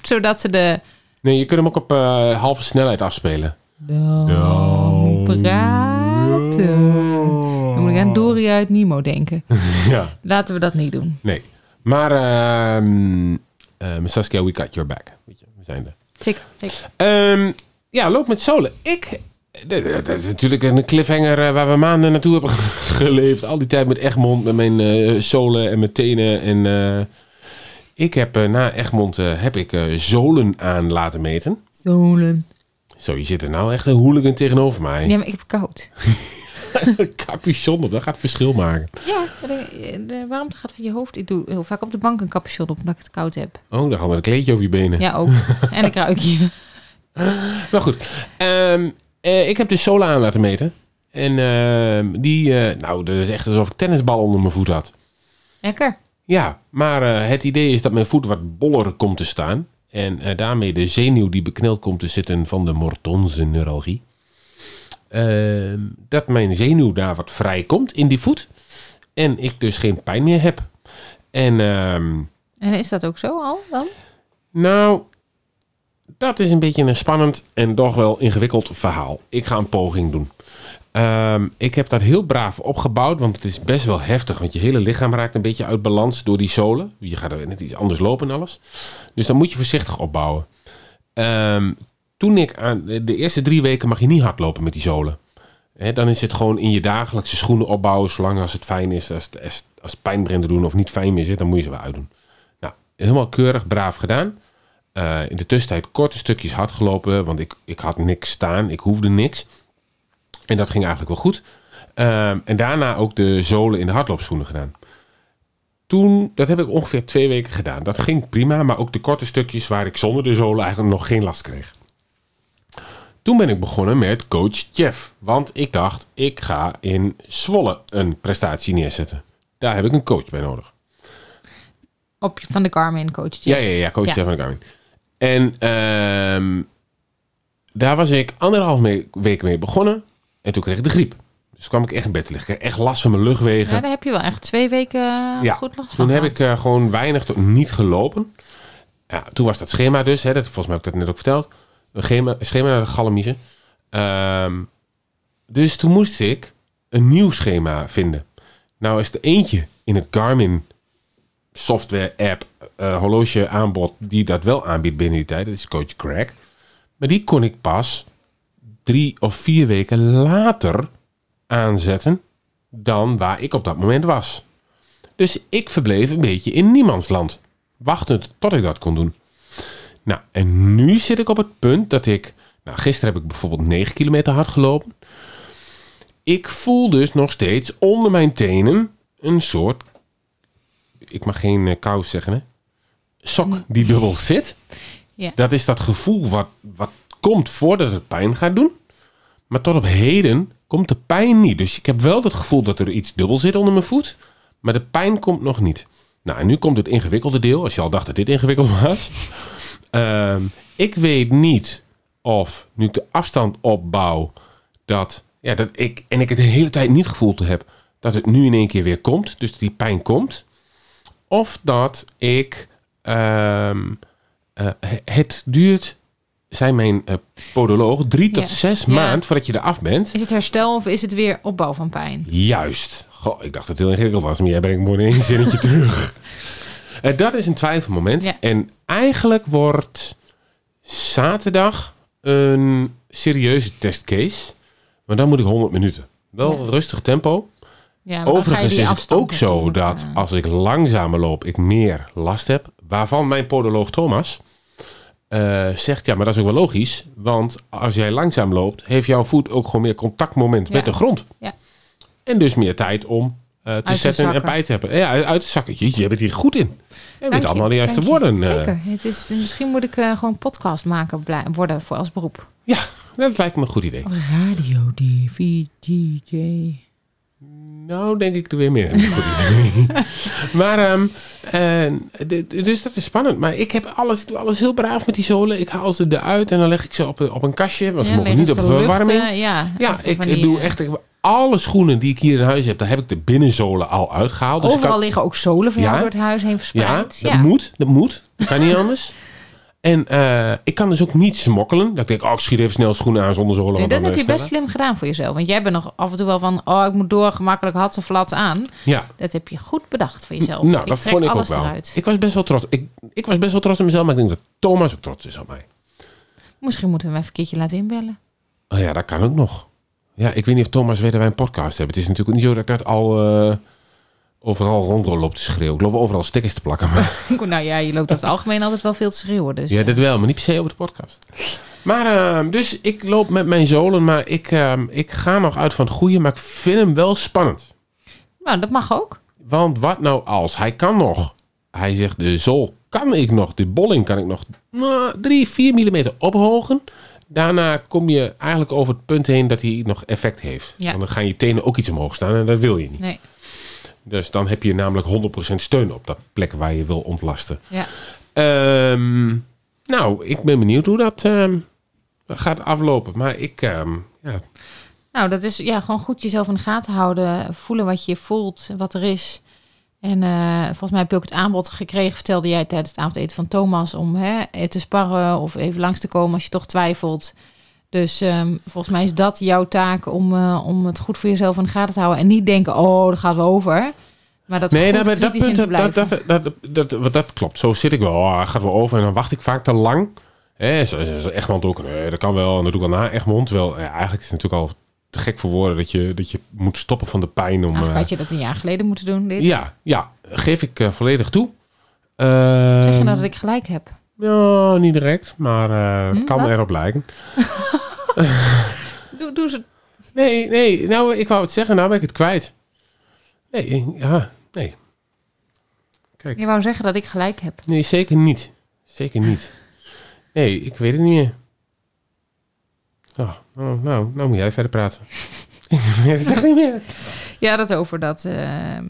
Speaker 6: zodat ze de...
Speaker 3: Nee, je kunt hem ook op eh, halve snelheid afspelen. Nou,
Speaker 6: praten.
Speaker 3: Oh.
Speaker 6: Dan moet eh, ik aan Dory uit Nemo denken.
Speaker 3: Ja.
Speaker 6: Laten we dat niet doen.
Speaker 3: Nee. Maar ehm ehm, Saskia, we got your back. Weet je, we zijn er.
Speaker 6: Zeker, zeker.
Speaker 3: Ehm, ja, loop met zolen. Ik... Dat- Dat dat is natuurlijk een cliffhanger eh, waar we maanden naartoe hebben geleefd. Al die tijd met Egmond, met mijn eh, zolen en mijn tenen. En eh, ik heb eh, na Egmond eh, heb ik eh, zolen aan laten meten.
Speaker 6: Zolen.
Speaker 3: Zo, je zit er nou echt een hooligan tegenover mij.
Speaker 6: Ja, maar ik heb koud.
Speaker 3: Capuchon op, dat gaat verschil maken.
Speaker 6: Ja, de, de warmte gaat van je hoofd. Ik doe heel vaak op de bank een capuchon op omdat ik het koud heb.
Speaker 3: Oh, dan gaan we een kleedje over je benen.
Speaker 6: Ja, ook. En ik ruik je.
Speaker 3: Maar goed, ehm, eh, ik heb dus sola aan laten meten. En ehm, die, eh, nou, dat is echt alsof ik tennisbal onder mijn voet had.
Speaker 6: Lekker.
Speaker 3: Ja, maar eh, het idee is dat mijn voet wat boller komt te staan. En eh, daarmee de zenuw die bekneld komt te zitten van de Mortonse neuralgie. Ehm, dat mijn zenuw daar wat vrij komt in die voet. En ik dus geen pijn meer heb. En ehm,
Speaker 6: En is dat ook zo al dan?
Speaker 3: nou, dat is een beetje een spannend en toch wel ingewikkeld verhaal. Ik ga een poging doen. Ehm, ik heb dat heel braaf opgebouwd, want het is best wel heftig. Want je hele lichaam raakt een beetje uit balans door die zolen. Je gaat er net iets anders lopen en alles. Dus dan moet je voorzichtig opbouwen. Ehm, toen ik aan de eerste drie weken mag je niet hardlopen met die zolen. Hè, dan is het gewoon in je dagelijkse schoenen opbouwen, zolang als het fijn is. Als, als, als pijnbrennen doen of niet fijn meer zit, dan moet je ze weer uitdoen. Nou, helemaal keurig, braaf gedaan. Eh, in de tussentijd korte stukjes hard gelopen, want ik, ik had niks staan, ik hoefde niks. En dat ging eigenlijk wel goed. Ehm, en daarna ook de zolen in de hardloopschoenen gedaan. Toen, dat heb ik ongeveer twee weken gedaan. Dat ging prima, maar ook de korte stukjes waar ik zonder de zolen eigenlijk nog geen last kreeg. Toen ben ik begonnen met coach Jeff. Want ik dacht, ik ga in Zwolle een prestatie neerzetten. Daar heb ik een coach bij nodig.
Speaker 6: Op, van de Garmin coach.
Speaker 3: Ja, ja, ja, coach
Speaker 6: Ja.
Speaker 3: Stefan Garmin. En ehm, daar was ik anderhalf me- week mee begonnen. En toen kreeg ik de griep. Dus kwam ik echt in bed te liggen. Ik kreeg echt last van mijn luchtwegen.
Speaker 6: Ja, daar heb je wel echt twee weken eh,
Speaker 3: Ja,
Speaker 6: goed last van
Speaker 3: toen heb ik
Speaker 6: gehad.
Speaker 3: eh, gewoon weinig tot niet gelopen. Ja, toen was dat schema dus, hè, dat, volgens mij heb ik dat net ook verteld. Een schema, schema naar de galmiezen. Ehm, dus toen moest ik een nieuw schema vinden. Nou is er eentje in het Garmin software app eh horloge aanbod die dat wel aanbiedt binnen die tijd. Dat is Coach Craig. Maar die kon ik pas drie of vier weken later aanzetten dan waar ik op dat moment was. Dus ik verbleef een beetje in niemands land. Wachtend tot ik dat kon doen. Nou, en nu zit ik op het punt dat ik... Nou, gisteren heb ik bijvoorbeeld 9 kilometer hard gelopen. Ik voel dus nog steeds onder mijn tenen een soort... Ik mag geen eh, kous zeggen, hè? Sok die dubbel zit.
Speaker 6: Ja.
Speaker 3: Dat is dat gevoel wat, wat komt voordat het pijn gaat doen. Maar tot op heden komt de pijn niet. Dus ik heb wel het gevoel dat er iets dubbel zit onder mijn voet. Maar de pijn komt nog niet. Nou, en nu komt het ingewikkelde deel. Als je al dacht dat dit ingewikkeld was. Ehm, ik weet niet of nu ik de afstand opbouw. Dat, ja, dat ik, en ik het de hele tijd niet gevoeld heb. Dat het nu in één keer weer komt. Dus dat die pijn komt. Of dat ik... ehm, eh, het duurt, zei mijn eh, podoloog, drie tot
Speaker 6: Ja.
Speaker 3: zes
Speaker 6: Ja.
Speaker 3: maanden voordat je eraf bent.
Speaker 6: Is het herstel of is het weer opbouw van pijn?
Speaker 3: Juist. Goh, ik dacht dat het heel ingewikkeld was, maar jij brengt me in één zinnetje terug. Eh, dat is een twijfelmoment.
Speaker 6: Ja.
Speaker 3: En eigenlijk wordt zaterdag een serieuze testcase. Maar dan moet ik 100 minuten. Wel
Speaker 6: Ja.
Speaker 3: rustig tempo.
Speaker 6: Ja, maar dan ga je
Speaker 3: Overigens
Speaker 6: die
Speaker 3: is het
Speaker 6: afstand
Speaker 3: ook zo
Speaker 6: natuurlijk,
Speaker 3: dat
Speaker 6: eh,
Speaker 3: als ik langzamer loop, ik meer last heb. Waarvan mijn podoloog Thomas eh, zegt, ja, maar dat is ook wel logisch. Want als jij langzaam loopt, heeft jouw voet ook gewoon meer contactmoment
Speaker 6: Ja.
Speaker 3: met de grond.
Speaker 6: Ja.
Speaker 3: En dus meer tijd om eh, te
Speaker 6: te
Speaker 3: zetten en
Speaker 6: zakken.
Speaker 3: bij te hebben. Ja, uit, uit de zakken. Jeetje, je bent hier goed in. Je weet
Speaker 6: dank
Speaker 3: allemaal de juiste
Speaker 6: dank
Speaker 3: woorden. eh.
Speaker 6: Zeker. Het is, misschien moet ik eh, gewoon podcast maken blij- worden voor als beroep.
Speaker 3: Ja, dat lijkt me een goed idee.
Speaker 6: Radio DV, DJ.
Speaker 3: Nou, denk ik er weer meer. aan. Goed idee. maar, ehm, eh, dit- dus dat is spannend. Maar ik heb alles, ik doe alles heel braaf met die zolen. Ik haal ze eruit en dan leg ik ze op, een- op een kastje. Want ze
Speaker 6: Ja,
Speaker 3: mogen
Speaker 6: liggen
Speaker 3: niet op
Speaker 6: ze te
Speaker 3: verwarming.
Speaker 6: luchten, eh, Ja,
Speaker 3: ja,
Speaker 6: even
Speaker 3: ik
Speaker 6: van die,
Speaker 3: doe
Speaker 6: eh,
Speaker 3: echt ik heb alle schoenen die ik hier in huis heb. Daar heb ik de binnenzolen al uitgehaald. Dus ik
Speaker 6: Overal
Speaker 3: kan-
Speaker 6: liggen ook zolen van jou
Speaker 3: Ja.
Speaker 6: door het huis heen
Speaker 3: ja,
Speaker 6: verspreid.
Speaker 3: dat moet. Dat moet. Dat kan niet anders. En eh, ik kan dus ook niet smokkelen. Dat ik denk, oh, ik schiet even snel schoenen aan zonder zolen.
Speaker 6: Nee,
Speaker 3: want
Speaker 6: dat
Speaker 3: dan
Speaker 6: heb je
Speaker 3: eh,
Speaker 6: best slim gedaan voor jezelf. Want jij bent nog af en toe wel van... oh, ik moet door, gemakkelijk had ze flats aan.
Speaker 3: sneller. Ja.
Speaker 6: Dat heb je goed bedacht voor jezelf.
Speaker 3: Nou, dat
Speaker 6: trek
Speaker 3: vond ik
Speaker 6: alles
Speaker 3: ook wel.
Speaker 6: eruit.
Speaker 3: Ik was best wel trots. Ik, ik was best wel trots op mezelf, maar ik denk dat Thomas ook trots is op mij.
Speaker 6: Misschien moeten we hem even een keertje laten inbellen.
Speaker 3: Oh ja, dat kan ook nog. Ja, ik weet niet of Thomas weet dat wij een podcast hebben. Het is natuurlijk niet zo dat ik dat al eh, overal rondrol op te schreeuwen. Ik loop overal stickers te plakken. Maar,
Speaker 6: nou ja, je loopt over het algemeen altijd wel veel te schreeuwen. Dus,
Speaker 3: ja,
Speaker 6: eh,
Speaker 3: dat wel, maar niet per se op de podcast. Maar eh, dus ik loop met mijn zolen, maar ik, eh, ik ga nog uit van het goede, maar ik vind hem wel spannend.
Speaker 6: Nou, dat mag ook.
Speaker 3: Want wat nou als? Hij kan nog. Hij zegt, de zool kan ik nog. De bolling kan ik nog nou, 3, 4 mm ophogen. Daarna kom je eigenlijk over het punt heen dat hij nog effect heeft.
Speaker 6: Ja.
Speaker 3: Want dan gaan je tenen ook iets omhoog staan en dat wil je niet.
Speaker 6: Nee.
Speaker 3: Dus dan heb je namelijk 100% steun op dat plek waar je wil ontlasten.
Speaker 6: Ja.
Speaker 3: Ehm, nou, ik ben benieuwd hoe dat ehm, gaat aflopen. Maar ik, ehm, ja,
Speaker 6: Nou, dat is ja, gewoon goed jezelf in de gaten houden. Voelen wat je voelt, wat er is. En eh, volgens mij heb je ook het aanbod gekregen, vertelde jij tijdens het avondeten van Thomas, om hè, eh, te sparren of even langs te komen als je toch twijfelt. Dus ehm, volgens mij is dat jouw taak om, eh, om het goed voor jezelf in de gaten te houden. En niet denken, oh, daar gaat wel over. Maar dat
Speaker 3: Nee,
Speaker 6: goed
Speaker 3: dat, dat
Speaker 6: kritisch in
Speaker 3: punt,
Speaker 6: te
Speaker 3: dat, dat,
Speaker 6: blijven.
Speaker 3: dat, dat, dat, want dat klopt. Zo zit ik wel. Oh, hij gaat wel over en dan wacht ik vaak te lang. Hè, zo, zo, zo Egmond ook. Nee, dat kan wel. En dat doe ik al na Egmond. Wel, ja, eigenlijk is het natuurlijk al te gek voor woorden dat je, dat je moet stoppen van de pijn. Om,
Speaker 6: Eigenlijk
Speaker 3: eh,
Speaker 6: Nou, had je dat een jaar geleden moeten doen, dit.
Speaker 3: ja, ja, geef ik eh, volledig toe.
Speaker 6: Zeg je
Speaker 3: Ehm,
Speaker 6: nou dat ik gelijk heb?
Speaker 3: Ja, niet direct, maar eh, het
Speaker 6: Hm,
Speaker 3: kan
Speaker 6: wat?
Speaker 3: erop lijken.
Speaker 6: Doe, doe ze.
Speaker 3: Nee, nee, nou, ik wou het zeggen, nou ben ik het kwijt. Nee, ja, nee.
Speaker 6: Je wou zeggen dat ik gelijk heb.
Speaker 3: Nee, zeker niet. Zeker niet. Nee, ik weet het niet meer. Oh, nou, nou, nou moet jij verder praten. ik weet het echt niet meer.
Speaker 6: Ja, dat over dat. ehm,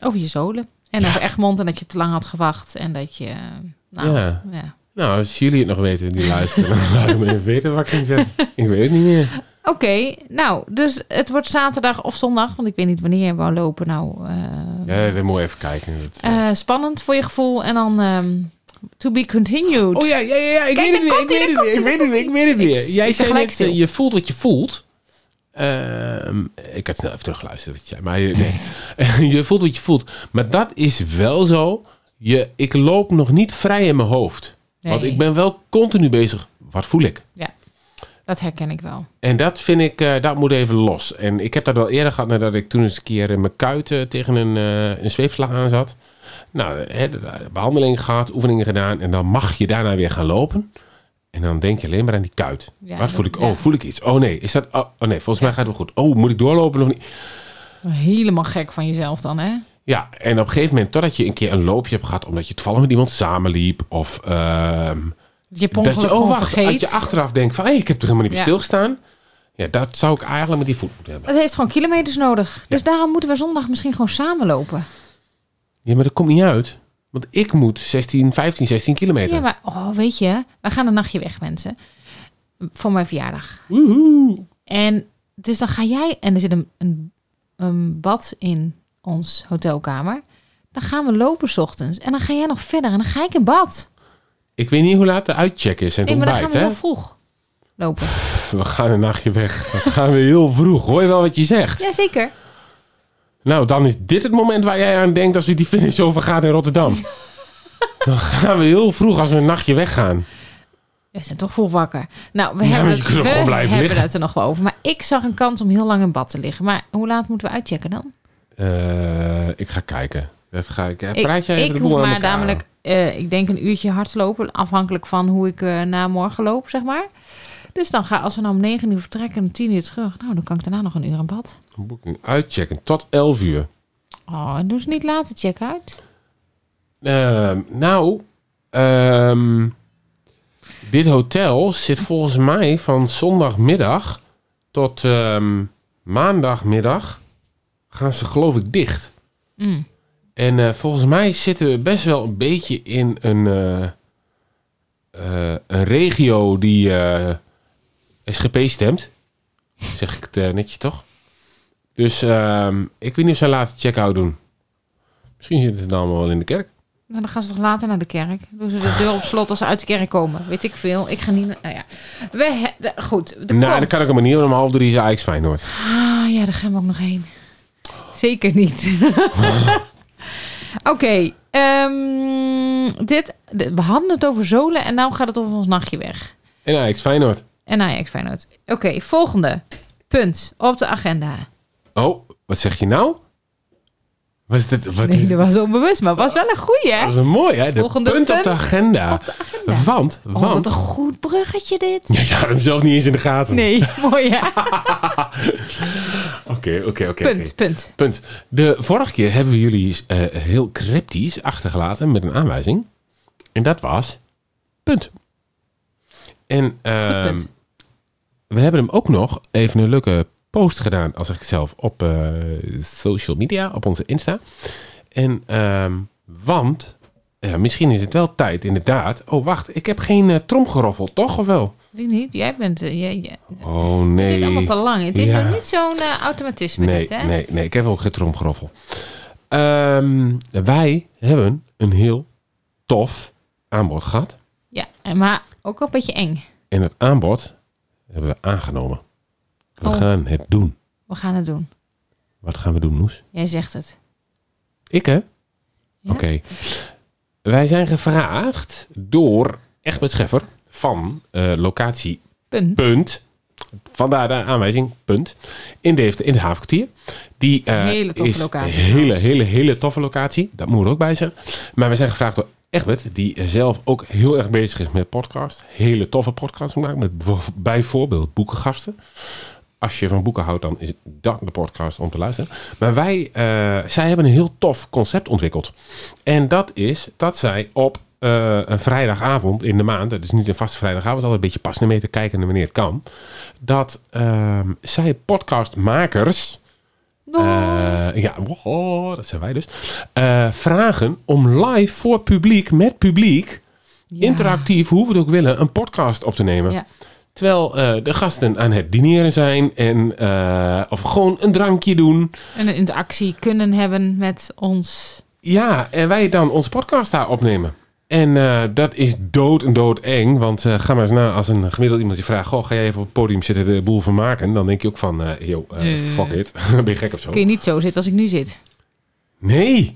Speaker 6: over je zolen. En over Egmond en dat je te lang had gewacht. En dat je. eh, Nou,
Speaker 3: Ja.
Speaker 6: ja.
Speaker 3: Nou, als jullie het nog weten, die luisteren, dan laat ik me even weten wat ik ging zeggen. Ik weet het niet meer.
Speaker 6: Oké, nou, dus het wordt zaterdag of zondag. Want ik weet niet wanneer je wou lopen. Nou,
Speaker 3: Ja,
Speaker 6: eh,
Speaker 3: dan moet je even kijken. Dat, eh.
Speaker 6: eh, spannend voor je gevoel. En dan. ehm, to be continued.
Speaker 3: Oh ja, ja, ja, ja, ik
Speaker 6: Kijk,
Speaker 3: weet het
Speaker 6: daar
Speaker 3: weer, ik
Speaker 6: komt-ie,
Speaker 3: weet het
Speaker 6: daar
Speaker 3: weer, ik weet het weer, ik weet het
Speaker 6: komt-ie.
Speaker 3: weer.
Speaker 6: Ik
Speaker 3: Jij
Speaker 6: zit
Speaker 3: zei
Speaker 6: gelijk
Speaker 3: net, eh,
Speaker 6: stil.
Speaker 3: je voelt wat je voelt. Ehm, ik had snel even teruggeluisterd wat jij, maar je- nee. je voelt wat je voelt. Maar dat is wel zo, je, ik loop nog niet vrij in mijn hoofd. Want
Speaker 6: Nee.
Speaker 3: ik ben wel continu bezig, wat voel ik?
Speaker 6: Ja, dat herken ik wel.
Speaker 3: En dat vind ik, eh, dat moet even los. En ik heb dat wel eerder gehad nadat ik toen eens een keer in mijn kuiten tegen een, eh, een zweepslag aan zat. Nou, hè, de- de behandeling gehad, oefeningen gedaan en dan mag je daarna weer gaan lopen. En dan denk je alleen maar aan die kuit.
Speaker 6: Ja,
Speaker 3: Wat
Speaker 6: dat-
Speaker 3: voel ik?
Speaker 6: ja.
Speaker 3: Oh, voel ik iets? Oh nee, is dat? Oh, oh nee, volgens mij gaat het wel goed. Oh, moet ik doorlopen of niet?
Speaker 6: Helemaal gek van jezelf dan, hè?
Speaker 3: Ja, en op een gegeven moment, totdat je een keer een loopje hebt gehad, omdat je toevallig met iemand samenliep of... ehm,
Speaker 6: Je hebt
Speaker 3: dat
Speaker 6: ongeluk
Speaker 3: je, oh
Speaker 6: gewoon
Speaker 3: wacht, dat
Speaker 6: vergeet.
Speaker 3: je achteraf denkt van, hé, ik heb er helemaal niet bij
Speaker 6: Ja.
Speaker 3: stilgestaan. Ja, dat zou ik eigenlijk met die voet moeten hebben.
Speaker 6: Het heeft gewoon kilometers nodig. Dus daarom moeten we zondag misschien gewoon samenlopen.
Speaker 3: Ja, maar dat komt niet uit. Want ik moet 16, 15, 16 kilometer.
Speaker 6: Ja, maar oh, weet je, we gaan een nachtje weg, mensen. Voor mijn verjaardag.
Speaker 3: Woehoe.
Speaker 6: En dus dan ga jij, en er zit een, een, een bad in ons hotelkamer. Dan gaan we lopen 's ochtends. En dan ga jij nog verder en dan ga ik in bad.
Speaker 3: Ik weet niet hoe laat de uitcheck is en het
Speaker 6: Nee, maar dan gaan
Speaker 3: ontbijt,
Speaker 6: we
Speaker 3: hè?
Speaker 6: heel vroeg lopen.
Speaker 3: Pff, We gaan een nachtje weg. Dan gaan we heel vroeg. Hoor je wel wat je zegt?
Speaker 6: Jazeker.
Speaker 3: Nou, dan is dit het moment waar jij aan denkt als we die finish overgaat in Rotterdam. dan gaan we heel vroeg als we een nachtje weggaan.
Speaker 6: We zijn toch vol wakker. Nou, we
Speaker 3: Ja,
Speaker 6: hebben,
Speaker 3: maar je
Speaker 6: het,
Speaker 3: kunt ook
Speaker 6: we
Speaker 3: gewoon blijven
Speaker 6: hebben
Speaker 3: liggen.
Speaker 6: het er nog wel over. Maar ik zag een kans om heel lang in bad te liggen. Maar hoe laat moeten we uitchecken dan?
Speaker 3: Eh, ik ga kijken. Dat ga ik. eh,
Speaker 6: Ik-
Speaker 3: Praat jij even
Speaker 6: ik
Speaker 3: de boel
Speaker 6: hoef
Speaker 3: aan
Speaker 6: maar
Speaker 3: elkaar?
Speaker 6: namelijk, eh, ik denk een uurtje hardlopen, afhankelijk van hoe ik eh, na morgen loop, zeg maar. Dus dan ga, als we nou om 9 uur vertrekken en om 10 uur terug, nou, dan kan ik daarna nog een uur in bad.
Speaker 3: Boeking uitchecken tot 11 uur.
Speaker 6: Oh, en doe ze niet later check uit.
Speaker 3: Ehm, nou, ehm, dit hotel zit volgens mij van zondagmiddag tot ehm, maandagmiddag gaan ze geloof ik dicht.
Speaker 6: Mm.
Speaker 3: En eh, volgens mij zitten we best wel een beetje in een, eh, eh, een regio die eh, SGP stemt. Zeg ik het eh, netjes toch? Dus ehm, ik weet niet of ze laten check-out doen. Misschien zitten ze dan allemaal wel in de kerk.
Speaker 6: Nou, dan gaan ze toch later naar de kerk. Doen ze de deur op slot als ze uit de kerk komen. Weet ik veel. Ik ga niet... naar- Nou ja. We he- de- goed. er
Speaker 3: nou,
Speaker 6: komt-
Speaker 3: dat kan ik op een manier, want om half drie is Ajax Feyenoord.
Speaker 6: Ah, ja, daar gaan we ook nog heen. Zeker niet. Oké, ehm, dit, de- we hadden het over zolen en nu gaat het over ons nachtje weg.
Speaker 3: En Ajax Feyenoord.
Speaker 6: En nou Ajax Feyenoord. Oké, volgende punt op de agenda.
Speaker 3: Oh, wat zeg je nou? Was dit, wat
Speaker 6: Nee,
Speaker 3: is,
Speaker 6: dat was onbewust, maar was wel een goeie, hè?
Speaker 3: dat was een mooi, hè? De
Speaker 6: Volgende
Speaker 3: punt op
Speaker 6: punt
Speaker 3: de agenda. Want,
Speaker 6: Oh, wat
Speaker 3: want...
Speaker 6: een goed bruggetje dit.
Speaker 3: Ja, je had hem zelf niet eens in de gaten.
Speaker 6: Nee, mooi hè?
Speaker 3: Oké, oké, oké. oké.
Speaker 6: Punt, punt.
Speaker 3: Punt. De vorige keer hebben we jullie eh, heel cryptisch achtergelaten met een aanwijzing. En dat was punt. En ehm,
Speaker 6: punt.
Speaker 3: we hebben hem ook nog even een leuke post gedaan, als ik zelf, op eh, social media, op onze Insta. En, ehm, want, ja, misschien is het wel tijd inderdaad. Oh, wacht, ik heb geen eh, trom geroffeld, toch? Of wel?
Speaker 6: Wie niet? Jij bent... eh, jij, jij-
Speaker 3: Oh,
Speaker 6: Het
Speaker 3: nee.
Speaker 6: duurt allemaal te lang. Het is
Speaker 3: Ja.
Speaker 6: nog niet zo'n eh, automatisme
Speaker 3: Nee,
Speaker 6: dit, hè?
Speaker 3: nee, nee, ik heb ook geen tromgeroffel. Ehm, wij hebben een heel tof aanbod gehad.
Speaker 6: Ja, en maar ook wel een beetje eng.
Speaker 3: En het aanbod hebben we aangenomen. We
Speaker 6: Oh.
Speaker 3: gaan het doen.
Speaker 6: We gaan het doen.
Speaker 3: Wat gaan we doen, Noes?
Speaker 6: Jij zegt het.
Speaker 3: Ik, hè?
Speaker 6: Ja?
Speaker 3: Oké. Wij zijn gevraagd door Egbert Scheffer van eh, locatie
Speaker 6: Punt.
Speaker 3: Punt. Vandaar de aanwijzing Punt. In Deventer, in het havenkwartier. Die eh,
Speaker 6: Hele toffe
Speaker 3: is
Speaker 6: locatie
Speaker 3: Een hele,
Speaker 6: trouwens.
Speaker 3: hele, hele toffe locatie. Dat moet er ook bij zijn. Maar we zijn gevraagd door Egbert, die zelf ook heel erg bezig is met podcast. Hele toffe podcasts maken met bijv- bijvoorbeeld boekengasten. Als je van boeken houdt, dan is dat de podcast om te luisteren. Maar wij, eh, zij hebben een heel tof concept ontwikkeld. En dat is dat zij op eh, een vrijdagavond in de maand, dat is niet een vaste vrijdagavond, altijd een beetje passen mee te kijken naar wanneer het kan. Dat ehm, zij podcastmakers eh, ja, wow, dat zijn wij dus. Eh, vragen om live voor publiek, met publiek,
Speaker 6: Ja.
Speaker 3: interactief, hoe we het ook willen, een podcast op te nemen.
Speaker 6: Ja.
Speaker 3: Terwijl eh, de gasten aan het dineren zijn en eh, of gewoon een drankje doen.
Speaker 6: En een interactie kunnen hebben met ons.
Speaker 3: Ja, en wij dan onze podcast daar opnemen. En eh, dat is dood en dood eng. Want eh, ga maar eens na als een gemiddeld iemand je vraagt... Goh, ga jij even op het podium zitten de boel vermaken? Dan denk je ook van, eh yo, eh,
Speaker 6: Nee.
Speaker 3: fuck it. ben je gek of zo?
Speaker 6: Kun je niet zo zitten als ik nu zit.
Speaker 3: Nee.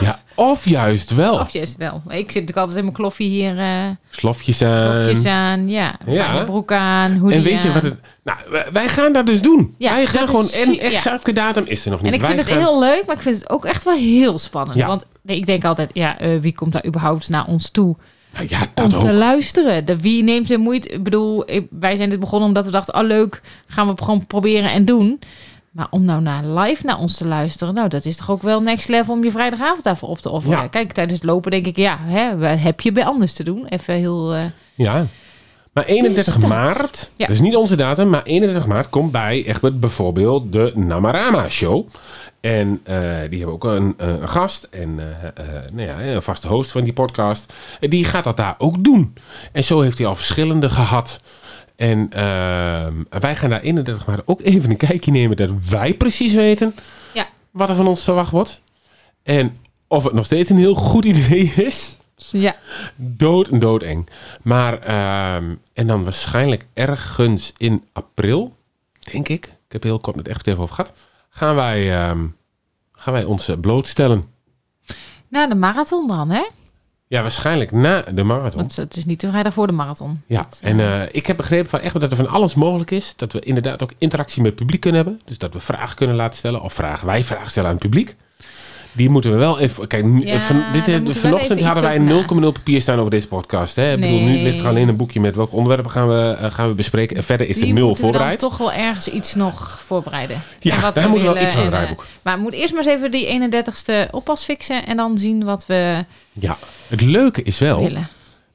Speaker 3: ja, of juist wel.
Speaker 6: Of juist wel. Ik zit natuurlijk altijd in mijn kloffie hier. eh
Speaker 3: Slofjes aan.
Speaker 6: klofjes aan. Ja,
Speaker 3: Ehm, ja.
Speaker 6: ja. broek aan. Hoodie
Speaker 3: En weet je
Speaker 6: aan.
Speaker 3: wat het... Nou, wij- wij gaan dat dus doen.
Speaker 6: eh, Ja,
Speaker 3: wij gaan
Speaker 6: dat
Speaker 3: gewoon...
Speaker 6: is
Speaker 3: En
Speaker 6: su- ja.
Speaker 3: exacte datum is er nog niet.
Speaker 6: En ik
Speaker 3: Wij
Speaker 6: vind het
Speaker 3: gaan-
Speaker 6: heel leuk, maar ik vind het ook echt wel heel spannend.
Speaker 3: Ja.
Speaker 6: Want nee, ik denk altijd, ja, eh, wie komt daar überhaupt naar ons toe
Speaker 3: Nou ja,
Speaker 6: om
Speaker 3: dat
Speaker 6: te
Speaker 3: ook.
Speaker 6: luisteren? De, wie neemt de moeite? Ik bedoel, ik- wij zijn dit begonnen omdat we dachten, oh leuk, gaan we het gewoon proberen en doen. Maar om nou naar live naar ons te luisteren, nou, dat is toch ook wel next level om je vrijdagavond daarvoor op te offeren.
Speaker 3: Ja.
Speaker 6: Kijk, tijdens het lopen denk ik, ja, hè, wat heb je bij anders te doen? Even heel... eh,
Speaker 3: Ja. Maar 31
Speaker 6: Dus dat.
Speaker 3: maart,
Speaker 6: Ja.
Speaker 3: dat is niet onze datum, maar 31 maart komt bij Egbert bijvoorbeeld de Namarama Show. En eh, die hebben ook een, eh, een gast en eh, eh, nou ja, een vaste host van die podcast. En Die gaat dat daar ook doen. En zo heeft hij al verschillende gehad. En ehm, wij gaan daar 31 maart ook even een kijkje nemen dat wij precies weten
Speaker 6: ja,
Speaker 3: wat er van ons verwacht wordt. En of het nog steeds een heel goed idee is.
Speaker 6: ja,
Speaker 3: Dood en doodeng. Maar, ehm, en dan waarschijnlijk ergens in april, denk ik. Ik heb heel kort met echt even over gehad. Gaan wij, ehm, gaan wij ons eh, blootstellen.
Speaker 6: na de marathon dan,
Speaker 3: Oh.
Speaker 6: hè?
Speaker 3: Ja, waarschijnlijk na de marathon.
Speaker 6: Want het is niet de vrijdag voor de marathon.
Speaker 3: Ja,
Speaker 6: Dat, eh,
Speaker 3: en eh, ik heb begrepen van echt dat er van alles mogelijk is. Dat we inderdaad ook interactie met het publiek kunnen hebben. Dus dat we vragen kunnen laten stellen. Of vragen, wij vragen stellen aan het publiek. Die moeten we wel even... Kijk, nu-
Speaker 6: Ja,
Speaker 3: van,
Speaker 6: daar
Speaker 3: dit, eh,
Speaker 6: moeten we wel
Speaker 3: vanochtend
Speaker 6: even
Speaker 3: hadden wij
Speaker 6: iets over na.
Speaker 3: 0,0 papier staan over deze podcast. Hè? Ik bedoel, nu
Speaker 6: Nee.
Speaker 3: ligt er alleen een boekje met welke onderwerpen gaan we, eh, gaan we bespreken. En verder is
Speaker 6: Die
Speaker 3: het nul
Speaker 6: moeten we dan
Speaker 3: voorbereid.
Speaker 6: toch wel ergens iets nog voorbereiden.
Speaker 3: Ja,
Speaker 6: En wat
Speaker 3: daar
Speaker 6: we
Speaker 3: moeten we wel
Speaker 6: willen
Speaker 3: iets van
Speaker 6: en, eh,
Speaker 3: draaiboek.
Speaker 6: Maar we moeten eerst maar eens even die 31ste oppas fixen en dan zien wat we
Speaker 3: Ja, het leuke is wel
Speaker 6: willen.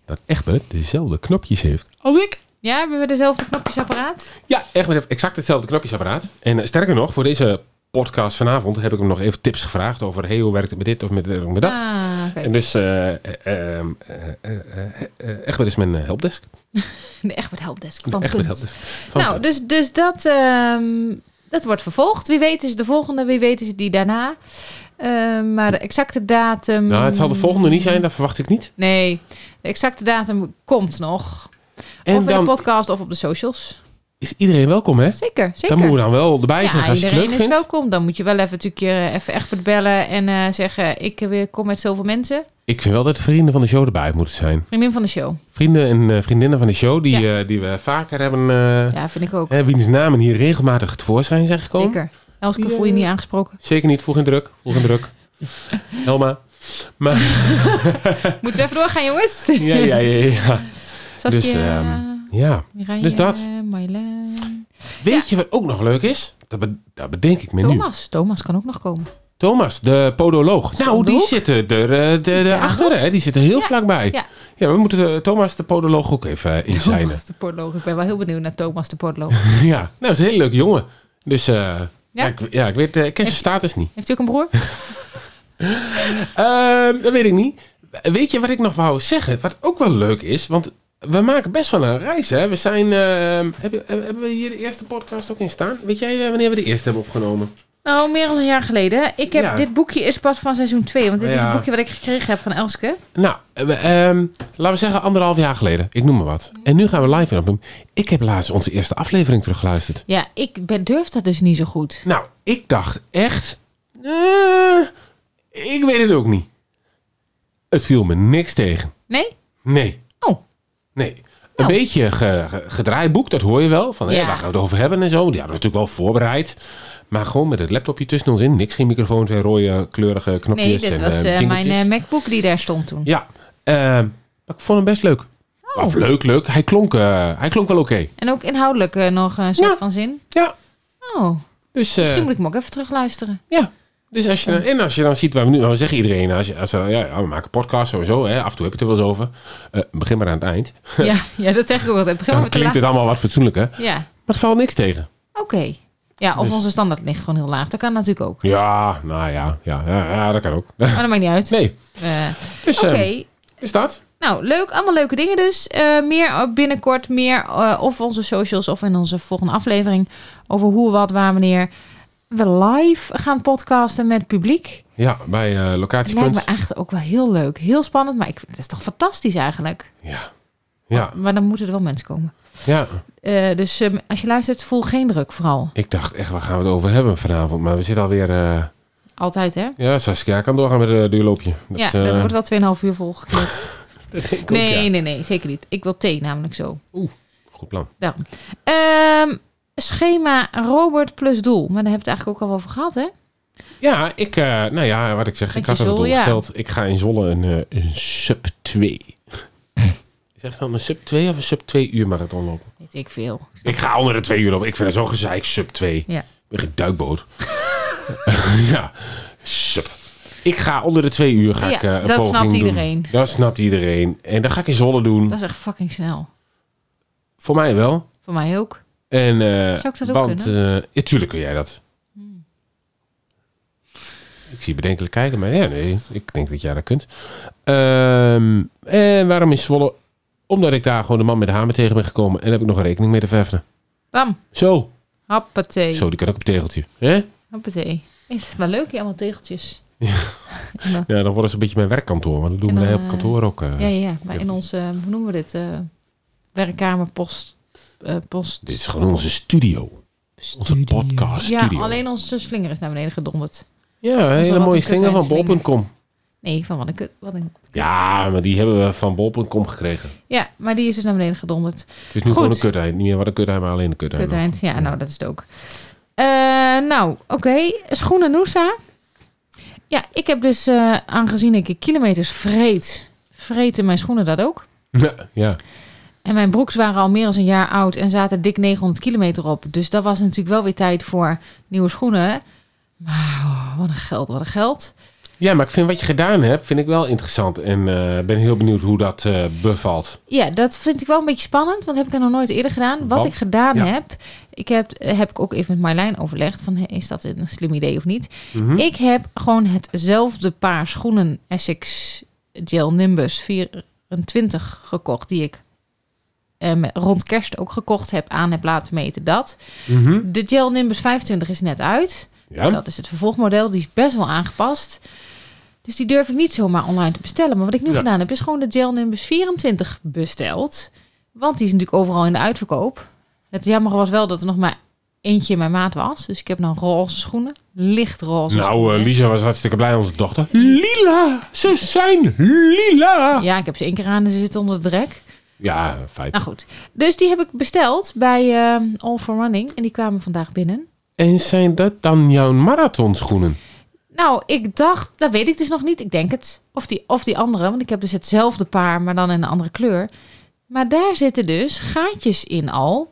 Speaker 3: dat Egbert dezelfde knopjes heeft als ik.
Speaker 6: Ja, hebben we dezelfde knopjesapparaat?
Speaker 3: Ja, Egbert heeft exact hetzelfde knopjesapparaat. En eh, sterker nog, voor deze podcast vanavond heb ik hem nog even tips gevraagd over... hey, hoe werkt het met dit of met, dit of met dat?
Speaker 6: Ah, kijk.
Speaker 3: En dus eh, eh, ehm, eh, eh, eh, eh, Egbert is mijn eh, helpdesk.
Speaker 6: De Egbert Helpdesk
Speaker 3: Mijn
Speaker 6: van
Speaker 3: Egbert
Speaker 6: Punt.
Speaker 3: helpdesk. Van
Speaker 6: Nou,
Speaker 3: Punt.
Speaker 6: dus, dus dat, ehm, dat wordt vervolgd. Wie weet is het de volgende, wie weet is het die daarna. Ehm, maar de exacte datum...
Speaker 3: nou, het zal de volgende niet zijn, dat verwacht ik niet.
Speaker 6: Nee, de exacte datum komt nog.
Speaker 3: En
Speaker 6: of in
Speaker 3: dan
Speaker 6: de podcast of op de socials.
Speaker 3: is iedereen welkom, hè?
Speaker 6: Zeker, zeker.
Speaker 3: Dan moeten we dan wel erbij zijn
Speaker 6: Ja,
Speaker 3: als je het
Speaker 6: iedereen
Speaker 3: leuk
Speaker 6: is
Speaker 3: vindt.
Speaker 6: welkom. Dan moet je wel even natuurlijk je, eh, even echt bellen en eh, zeggen... ik eh, weer kom met zoveel mensen.
Speaker 3: Ik vind wel dat vrienden van de show erbij moeten zijn.
Speaker 6: Vriendin van de show.
Speaker 3: Vrienden en eh, vriendinnen van de show die, eh, die we vaker hebben... eh,
Speaker 6: Ja, vind ik ook.
Speaker 3: hè, wiens namen hier regelmatig tevoorschijn zijn gekomen.
Speaker 6: Zeker. Elske
Speaker 3: Die,
Speaker 6: voel je
Speaker 3: eh,
Speaker 6: niet aangesproken.
Speaker 3: Zeker niet, voeg in druk, voeg in druk. Helma. Maar,
Speaker 6: Moeten we even doorgaan, jongens?
Speaker 3: ja, ja, ja, ja.
Speaker 6: Saskia,
Speaker 3: Dus, ehm, ja.
Speaker 6: Mireille,
Speaker 3: dus dat.
Speaker 6: Marjolein,
Speaker 3: Weet je wat ook nog leuk is? Dat, be- dat bedenk ik me nu.
Speaker 6: Thomas. Thomas kan ook nog komen.
Speaker 3: Thomas, de podoloog. Nou, die
Speaker 6: Podoloog?
Speaker 3: zitten er eh, de, de,
Speaker 6: Daarop?
Speaker 3: achter, hè? Die zitten heel
Speaker 6: Ja,
Speaker 3: vlakbij.
Speaker 6: ja.
Speaker 3: Ja, we moeten eh, Thomas, de podoloog, ook even eh, inzijnen.
Speaker 6: Thomas de Portloog. Ik ben wel heel benieuwd naar Thomas de Portloog.
Speaker 3: Ja, nou, dat is een hele leuke jongen. Dus eh, ja? ik, ja, ik weet, eh, ik ken zijn status niet.
Speaker 6: Heeft u ook een broer?
Speaker 3: Ehm, dat weet ik niet. Weet je wat ik nog wou zeggen? Wat ook wel leuk is, want we maken best wel een reis, hè? We zijn... ehm, hebben, hebben we hier de eerste podcast ook in staan? Weet jij eh, wanneer we de eerste hebben opgenomen?
Speaker 6: Nou, meer dan een jaar geleden. Ik heb,
Speaker 3: Ja.
Speaker 6: Dit boekje is pas van seizoen 2. Want dit is
Speaker 3: Ja.
Speaker 6: het boekje wat ik gekregen heb van Elske.
Speaker 3: Nou, eh, we, ehm, laten we zeggen anderhalf jaar geleden. Ik noem maar wat. En nu gaan we live weer op hem. Ik heb laatst onze eerste aflevering teruggeluisterd.
Speaker 6: Ja, ik ben, durf dat dus niet zo goed.
Speaker 3: Nou, ik dacht echt... eh, ik weet het ook niet. Het viel me niks tegen.
Speaker 6: Nee?
Speaker 3: Nee.
Speaker 6: Oh.
Speaker 3: Nee. Een
Speaker 6: Nou.
Speaker 3: beetje ge, ge- gedraaiboek, dat hoor je wel. Van, hé,
Speaker 6: Ja.
Speaker 3: waar gaan we het over hebben en zo. Die hadden we natuurlijk wel voorbereid. Maar gewoon met het laptopje tussen ons in. Niks, geen microfoons en rode kleurige knopjes.
Speaker 6: Nee, dit
Speaker 3: en,
Speaker 6: was
Speaker 3: eh,
Speaker 6: eh, mijn
Speaker 3: jingeltjes.
Speaker 6: eh, MacBook die daar stond toen.
Speaker 3: Ja. ehm, maar ik vond hem best leuk.
Speaker 6: Oh.
Speaker 3: Of leuk, leuk. Hij klonk, eh, hij klonk wel oké.
Speaker 6: En ook inhoudelijk eh, nog een soort
Speaker 3: Ja.
Speaker 6: van zin.
Speaker 3: Ja.
Speaker 6: Oh,
Speaker 3: Dus, eh,
Speaker 6: misschien moet ik hem ook even terugluisteren.
Speaker 3: ja. Dus als je, dan- en als je dan ziet waar we nu... We zeggen iedereen, als je, als je- ja, we maken podcast sowieso. Hè, af en toe heb je het er wel eens over. Eh, begin maar aan het eind.
Speaker 6: ja, ja, dat zeg ik ook altijd. Begin
Speaker 3: Dan
Speaker 6: maar met de
Speaker 3: klinkt het
Speaker 6: laag-
Speaker 3: allemaal wat fatsoenlijker.
Speaker 6: Ja,
Speaker 3: Maar het valt niks tegen.
Speaker 6: oké. Ja, of
Speaker 3: Dus-
Speaker 6: onze standaard ligt gewoon heel laag. Dat kan natuurlijk ook.
Speaker 3: Ja, nou ja, ja, ja, ja, dat kan ook.
Speaker 6: Maar dat maakt niet uit.
Speaker 3: Nee,
Speaker 6: Eh,
Speaker 3: dus
Speaker 6: oké,
Speaker 3: ehm, is dat?
Speaker 6: nou leuk. Allemaal leuke dingen dus. Eh, meer binnenkort. Meer eh, of onze socials of in onze volgende aflevering. Over hoe, wat, waar, wanneer. We live gaan podcasten met het publiek.
Speaker 3: Ja, bij eh
Speaker 6: Dat lijkt me
Speaker 3: locatiekunst.
Speaker 6: echt ook wel heel leuk. Heel spannend. Maar ik, het is toch fantastisch eigenlijk.
Speaker 3: Ja, ja,
Speaker 6: Maar dan moeten er wel mensen komen.
Speaker 3: ja.
Speaker 6: Eh, dus ehm, als je luistert, voel geen druk vooral.
Speaker 3: Ik dacht echt, waar gaan we het over hebben vanavond? Maar we zitten alweer... eh
Speaker 6: Altijd hè?
Speaker 3: ja, Saskia kan doorgaan met het duurloopje.
Speaker 6: ja,
Speaker 3: eh,
Speaker 6: dat wordt wel 2,5 uur volgeknutst.
Speaker 3: dat denk ik ook,
Speaker 6: nee,
Speaker 3: ja.
Speaker 6: nee, nee, zeker niet. Ik wil thee namelijk zo.
Speaker 3: Goed plan.
Speaker 6: Daarom. Ehm, schema Robert plus doel. Maar daar heb je het eigenlijk ook al over gehad, hè?
Speaker 3: Ja, ik, eh, nou ja, wat ik zeg, ik
Speaker 6: Met
Speaker 3: had
Speaker 6: je
Speaker 3: het
Speaker 6: zool, ja.
Speaker 3: doelgesteld. Ik ga in Zwolle een, eh, een sub 2. Zeg dan een sub 2 of een sub 2 uur marathon lopen?
Speaker 6: Weet ik veel.
Speaker 3: Ik ga onder de twee uur op. Ik vind het zo'n gezeik, sub 2.
Speaker 6: Ja.
Speaker 3: Ik ben geen duikboot. ja, sub. Ik ga onder de twee uur ga
Speaker 6: Ja,
Speaker 3: ik, eh, een
Speaker 6: dat
Speaker 3: poging
Speaker 6: snapt
Speaker 3: doen.
Speaker 6: iedereen.
Speaker 3: Dat snapt iedereen. En dat ga ik in Zwolle doen.
Speaker 6: Dat is echt fucking snel.
Speaker 3: Voor mij wel.
Speaker 6: Voor mij ook.
Speaker 3: En, eh,
Speaker 6: Zou ik dat ook Hmm.
Speaker 3: want, eh, ja, tuurlijk kun jij dat. Ik zie je bedenkelijk kijken, maar ja, nee. Ik denk dat jij dat kunt. Ehm, en waarom in Zwolle? Omdat ik daar gewoon de man met de hamer tegen ben gekomen. En daar heb ik nog een rekening mee te verven.
Speaker 6: Bam.
Speaker 3: Zo.
Speaker 6: Hoppatee.
Speaker 3: Zo, die kan ook op het tegeltje. Hè?
Speaker 6: Hoppatee. Het is wel leuk, hier allemaal tegeltjes.
Speaker 3: Ja, dan worden ze een beetje mijn werkkantoor. Want dat doen
Speaker 6: En
Speaker 3: we
Speaker 6: dan,
Speaker 3: daar op
Speaker 6: eh,
Speaker 3: kantoor ook. eh.
Speaker 6: Ja, ja, ja. Maar in
Speaker 3: tegeltjes.
Speaker 6: onze, eh, hoe noemen we dit? eh, werkkamer, post, eh, post.
Speaker 3: Dit is gewoon onze studio. Onze podcast
Speaker 6: Ja,
Speaker 3: studio.
Speaker 6: alleen onze slinger is naar beneden gedonderd.
Speaker 3: Ja, een hele
Speaker 6: wat
Speaker 3: mooie
Speaker 6: een kut
Speaker 3: slinger van
Speaker 6: uitslinger.
Speaker 3: bol.com.
Speaker 6: Nee, van wat een kut. Wat een...
Speaker 3: Ja, maar die hebben we van bol.com gekregen.
Speaker 6: Ja, maar die is dus naar beneden gedonderd.
Speaker 3: Het is nu
Speaker 6: Goed.
Speaker 3: gewoon een kutheid. Niet meer wat een kutheid, maar alleen een kutheid.
Speaker 6: Kut eind. Ja, nou, dat is het ook. Eh, nou, oké. Schoenen Noosa. Ja, ik heb dus, eh, aangezien ik kilometers vreet, vreten mijn schoenen dat ook.
Speaker 3: Ja, ja.
Speaker 6: En mijn broeks waren al meer dan een jaar oud en zaten dik 900 kilometer op. Dus dat was natuurlijk wel weer tijd voor nieuwe schoenen. Maar oh, wat een geld, wat een geld.
Speaker 3: ja, maar ik vind wat je gedaan hebt, vind ik wel interessant. En eh, ben heel benieuwd hoe dat eh, bevalt.
Speaker 6: Ja, dat vind ik wel een beetje spannend, want heb ik er nog nooit eerder gedaan. Wat
Speaker 3: Want?
Speaker 6: ik gedaan
Speaker 3: Ja.
Speaker 6: heb, ik heb, heb ik ook even met Marlijn overlegd van hey, is dat een slim idee of niet.
Speaker 3: Mhm.
Speaker 6: Ik heb gewoon hetzelfde paar schoenen Essex Gel Nimbus 24 gekocht die ik eh, met- rond kerst ook gekocht heb aan heb laten meten dat.
Speaker 3: Mhm.
Speaker 6: De Gel Nimbus 25 is net uit.
Speaker 3: Ja?
Speaker 6: Dat is het vervolgmodel, die is best wel aangepast. Dus die durf ik niet zomaar online te bestellen. Maar wat ik nu
Speaker 3: Ja.
Speaker 6: gedaan heb, is gewoon de Gel Nimbus 24 besteld. Want die is natuurlijk overal in de uitverkoop. Het jammer was wel dat er nog maar eentje in mijn maat was. Dus ik heb nou roze schoenen. Licht roze
Speaker 3: Nou,
Speaker 6: schoenen.
Speaker 3: eh, Lisa was hartstikke blij, onze dochter. Lila! Ze zijn lila! eh, Ja,
Speaker 6: Ja, ik heb ze één keer aan en ze zitten onder de rek.
Speaker 3: feit.
Speaker 6: Nou goed. Dus die heb ik besteld bij ehm, All for Running. En die kwamen vandaag binnen.
Speaker 3: En zijn dat dan jouw marathonschoenen?
Speaker 6: Nou, ik dacht, dat weet ik dus nog niet. Ik denk het. Of die, of die andere, want ik heb dus hetzelfde paar, maar dan in een andere kleur. Maar daar zitten dus gaatjes in al.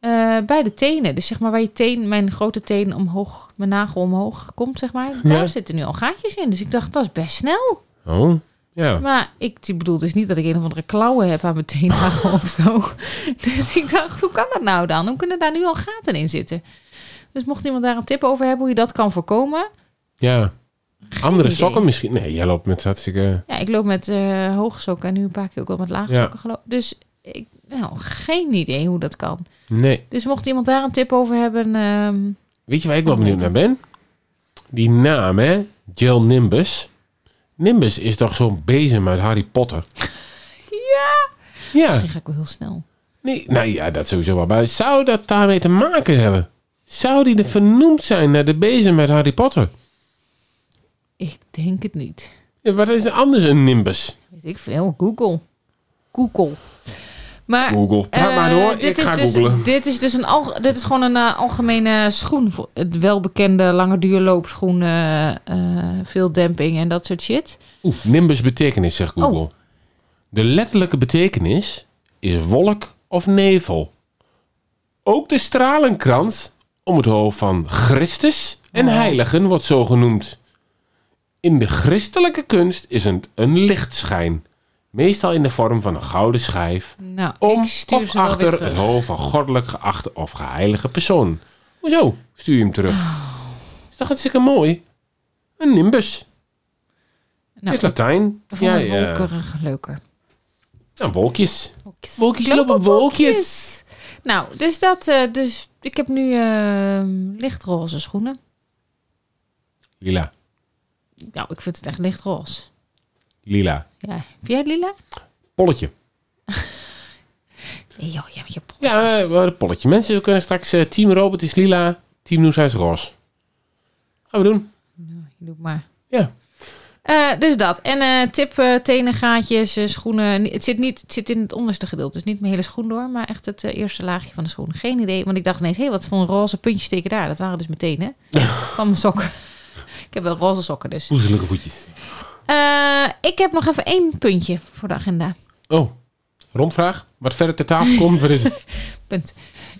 Speaker 6: eh, bij de tenen. Dus zeg maar waar je teen, mijn grote teen omhoog, mijn nagel omhoog komt, zeg maar. Daar
Speaker 3: Ja.
Speaker 6: zitten nu al gaatjes in. Dus ik dacht, dat is best snel.
Speaker 3: Oh, ja.
Speaker 6: Maar ik die bedoel dus niet dat ik een of andere klauwen heb aan mijn teennagel of zo. Dus ik dacht, hoe kan dat nou dan? Hoe kunnen daar nu al gaten in zitten? Dus mocht iemand daar een tip over hebben hoe je dat kan voorkomen.
Speaker 3: Ja. Andere
Speaker 6: idee.
Speaker 3: sokken misschien. Nee, jij loopt met hartstikke...
Speaker 6: Ja, ik loop met eh hoge sokken en nu een paar keer ook wel met lage
Speaker 3: Ja.
Speaker 6: sokken gelopen. Dus ik, nou, geen idee hoe dat kan.
Speaker 3: Nee.
Speaker 6: Dus mocht iemand daar een tip over hebben, ehm,
Speaker 3: Weet je waar ik wel
Speaker 6: Oh,
Speaker 3: benieuwd naar
Speaker 6: nee,
Speaker 3: ben? Die naam, hè? Jill Nimbus. Nimbus is toch zo'n bezem uit Harry Potter?
Speaker 6: ja,
Speaker 3: Ja.
Speaker 6: misschien ga ik wel heel snel.
Speaker 3: Nee, nou ja, dat sowieso wel. Maar zou dat daarmee te maken hebben? Zou die er vernoemd zijn naar de bezem uit Harry Potter?
Speaker 6: Ik denk het niet.
Speaker 3: Ja, wat is er anders een Nimbus?
Speaker 6: Weet ik veel. Google. Google. Maar
Speaker 3: Google. Praat
Speaker 6: eh,
Speaker 3: maar door.
Speaker 6: Dit
Speaker 3: ik
Speaker 6: is
Speaker 3: ga
Speaker 6: dus,
Speaker 3: googlen.
Speaker 6: Dit is dus een alge- dit is gewoon een eh, algemene schoen. Voor- Het welbekende lange duurloopschoen. eh, eh, veel demping en dat soort shit.
Speaker 3: Oef, Nimbus betekenis, zegt
Speaker 6: Oh.
Speaker 3: Google. De letterlijke betekenis is wolk of nevel. Ook de stralenkrans om het hoofd van Christus en
Speaker 6: Oh.
Speaker 3: heiligen wordt zo genoemd. In de christelijke kunst is het een lichtschijn. Meestal in de vorm van een gouden schijf.
Speaker 6: Nou,
Speaker 3: Om
Speaker 6: ik stuur
Speaker 3: of
Speaker 6: ze wel weer
Speaker 3: achter het
Speaker 6: terug.
Speaker 3: hoofd van goddelijk geachte of geheilige persoon. Hoezo stuur je hem terug?
Speaker 6: Oh.
Speaker 3: Is toch hartstikke mooi? Een nimbus.
Speaker 6: Nou,
Speaker 3: is Latijn.
Speaker 6: Ik vond het wolkerig leuker.
Speaker 3: Nou, wolkjes.
Speaker 6: Wolkjes.
Speaker 3: Wolkjes
Speaker 6: Ik loop
Speaker 3: lopen
Speaker 6: op
Speaker 3: wolkjes.
Speaker 6: Nou, dus dat. eh, dus ik heb nu eh, lichtroze schoenen.
Speaker 3: Lila.
Speaker 6: Nou, ik vind het echt lichtroze.
Speaker 3: Lila.
Speaker 6: Ja. Heb jij lila?
Speaker 3: Polletje.
Speaker 6: Nee, joh, jij met je broek.
Speaker 3: Ja, eh, wel een polletje. Mensen kunnen straks... eh, team Robert is lila. Team Noes is roze. Gaan we doen.
Speaker 6: Nou, Je doet maar.
Speaker 3: Ja.
Speaker 6: Eh, dus dat. En eh, tip, eh, tenen, gaatjes, eh, schoenen. Ni- Het zit, niet, het zit in het onderste gedeelte. Dus niet mijn hele schoen door, maar echt het eh, eerste laagje van de schoen. Geen idee, want ik dacht ineens, hé, wat voor een roze puntje steken daar? Dat waren dus meteen, hè? van mijn sokken. ik heb wel roze sokken dus.
Speaker 3: Poezelige voetjes.
Speaker 6: Eh, ik heb nog even één puntje voor de agenda.
Speaker 3: Oh. Rondvraag. Wat verder ter tafel komt, wat is het?
Speaker 6: Punt.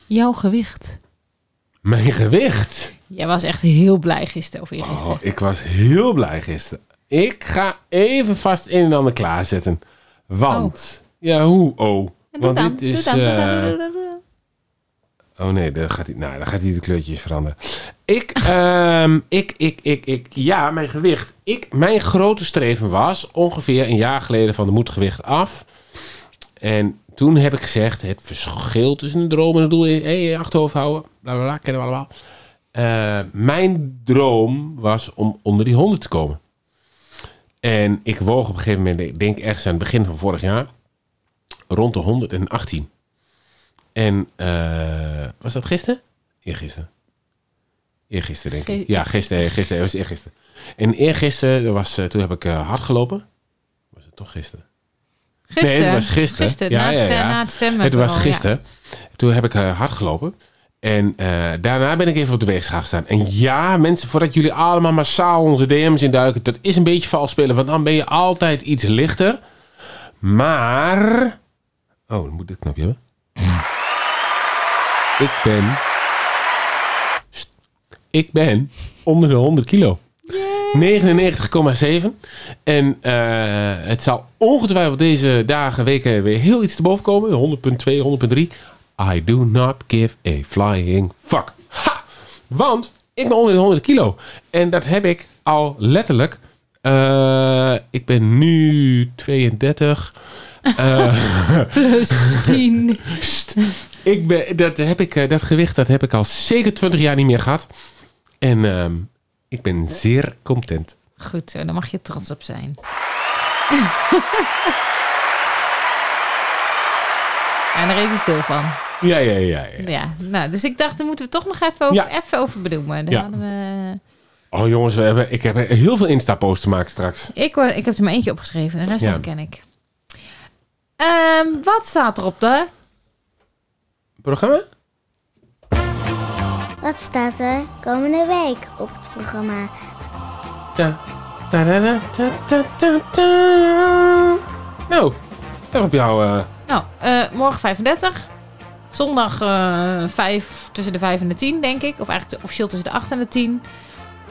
Speaker 6: Jouw gewicht.
Speaker 3: Mijn gewicht.
Speaker 6: Jij was echt heel blij gisteren of eergisteren.
Speaker 3: Oh, ik was heel blij gisteren. Ik ga even vast een en ander klaarzetten. Want... Ja, hoe? Oh.
Speaker 6: En
Speaker 3: Want
Speaker 6: doe dan,
Speaker 3: dit is...
Speaker 6: doe dan, doe dan,
Speaker 3: eh,
Speaker 6: doe dan, doe dan.
Speaker 3: Oh nee, dan gaat hij, nou, dan gaat hij de kleurtjes veranderen. Ik, ehm, ik, ik, ik, ik, ja, mijn gewicht. Ik, mijn grote streven was ongeveer een jaar geleden van de moedgewicht af. En toen heb ik gezegd, het verschil tussen een droom en een doel is, hé, hey, achterhoofd houden, bla bla bla, kennen we allemaal. Eh, mijn droom was om onder die 100 te komen. En ik woog op een gegeven moment, ik denk ergens aan het begin van vorig jaar, rond de 118. En eh, was dat gisteren? Eergisteren. Eergisteren, denk ik.
Speaker 6: Ge-
Speaker 3: Ja, gisteren, gisteren, het was eergisteren. En eergisteren, dat was, eh, toen heb ik eh, hard gelopen. Was het toch gisteren?
Speaker 6: Gisteren.
Speaker 3: Nee, het was gisteren.
Speaker 6: Gisteren,
Speaker 3: Ja,
Speaker 6: na, het
Speaker 3: ja,
Speaker 6: stem-
Speaker 3: ja.
Speaker 6: na het stemmen.
Speaker 3: Het was
Speaker 6: vooral, ja.
Speaker 3: gisteren. Toen heb ik eh, hard gelopen. En eh, daarna ben ik even op de weegschaal gaan staan. En ja, mensen, voordat jullie allemaal massaal onze DM's induiken, dat is een beetje vals spelen, want dan ben je altijd iets lichter. Maar. Oh, dan moet ik dit knopje hebben. Ik ben. Sst. Ik ben onder de 100 kilo. 99,7. En eh, het zal ongetwijfeld deze dagen, weken weer heel iets te boven komen. 100.2, 100.3. I do not give a flying fuck. Ha! Want ik ben onder de 100 kilo. En dat heb ik al letterlijk. eh, ik ben nu 32.
Speaker 6: Plus 10.
Speaker 3: Pst. Ik ben, dat, heb ik, eh, dat gewicht dat heb ik al zeker 20 jaar niet meer gehad. En ehm, ik ben zeer content.
Speaker 6: Goed zo, daar mag je trots op zijn. en daar even stil van.
Speaker 3: Ja, ja, ja. ja.
Speaker 6: Ja, nou, dus ik dacht, daar moeten we toch nog even over,
Speaker 3: Ja.
Speaker 6: even over benoemen. Daar
Speaker 3: Ja.
Speaker 6: hadden we...
Speaker 3: Oh jongens, we hebben, ik heb heel veel Insta-posts te maken straks.
Speaker 6: ik, hoor- ik heb er maar eentje opgeschreven, de rest
Speaker 3: Ja.
Speaker 6: dat ken ik. Ehm, wat staat er op de...
Speaker 3: Programma?
Speaker 4: Wat staat er komende week op het programma?
Speaker 3: Ja. Ta -da -da -ta -ta -ta -ta. Nou, stel op jou. eh,
Speaker 6: Nou, eh, morgen 35. Zondag eh 5, tussen de 5 en de 10, denk ik. Of eigenlijk officieel tussen de 8 en de 10.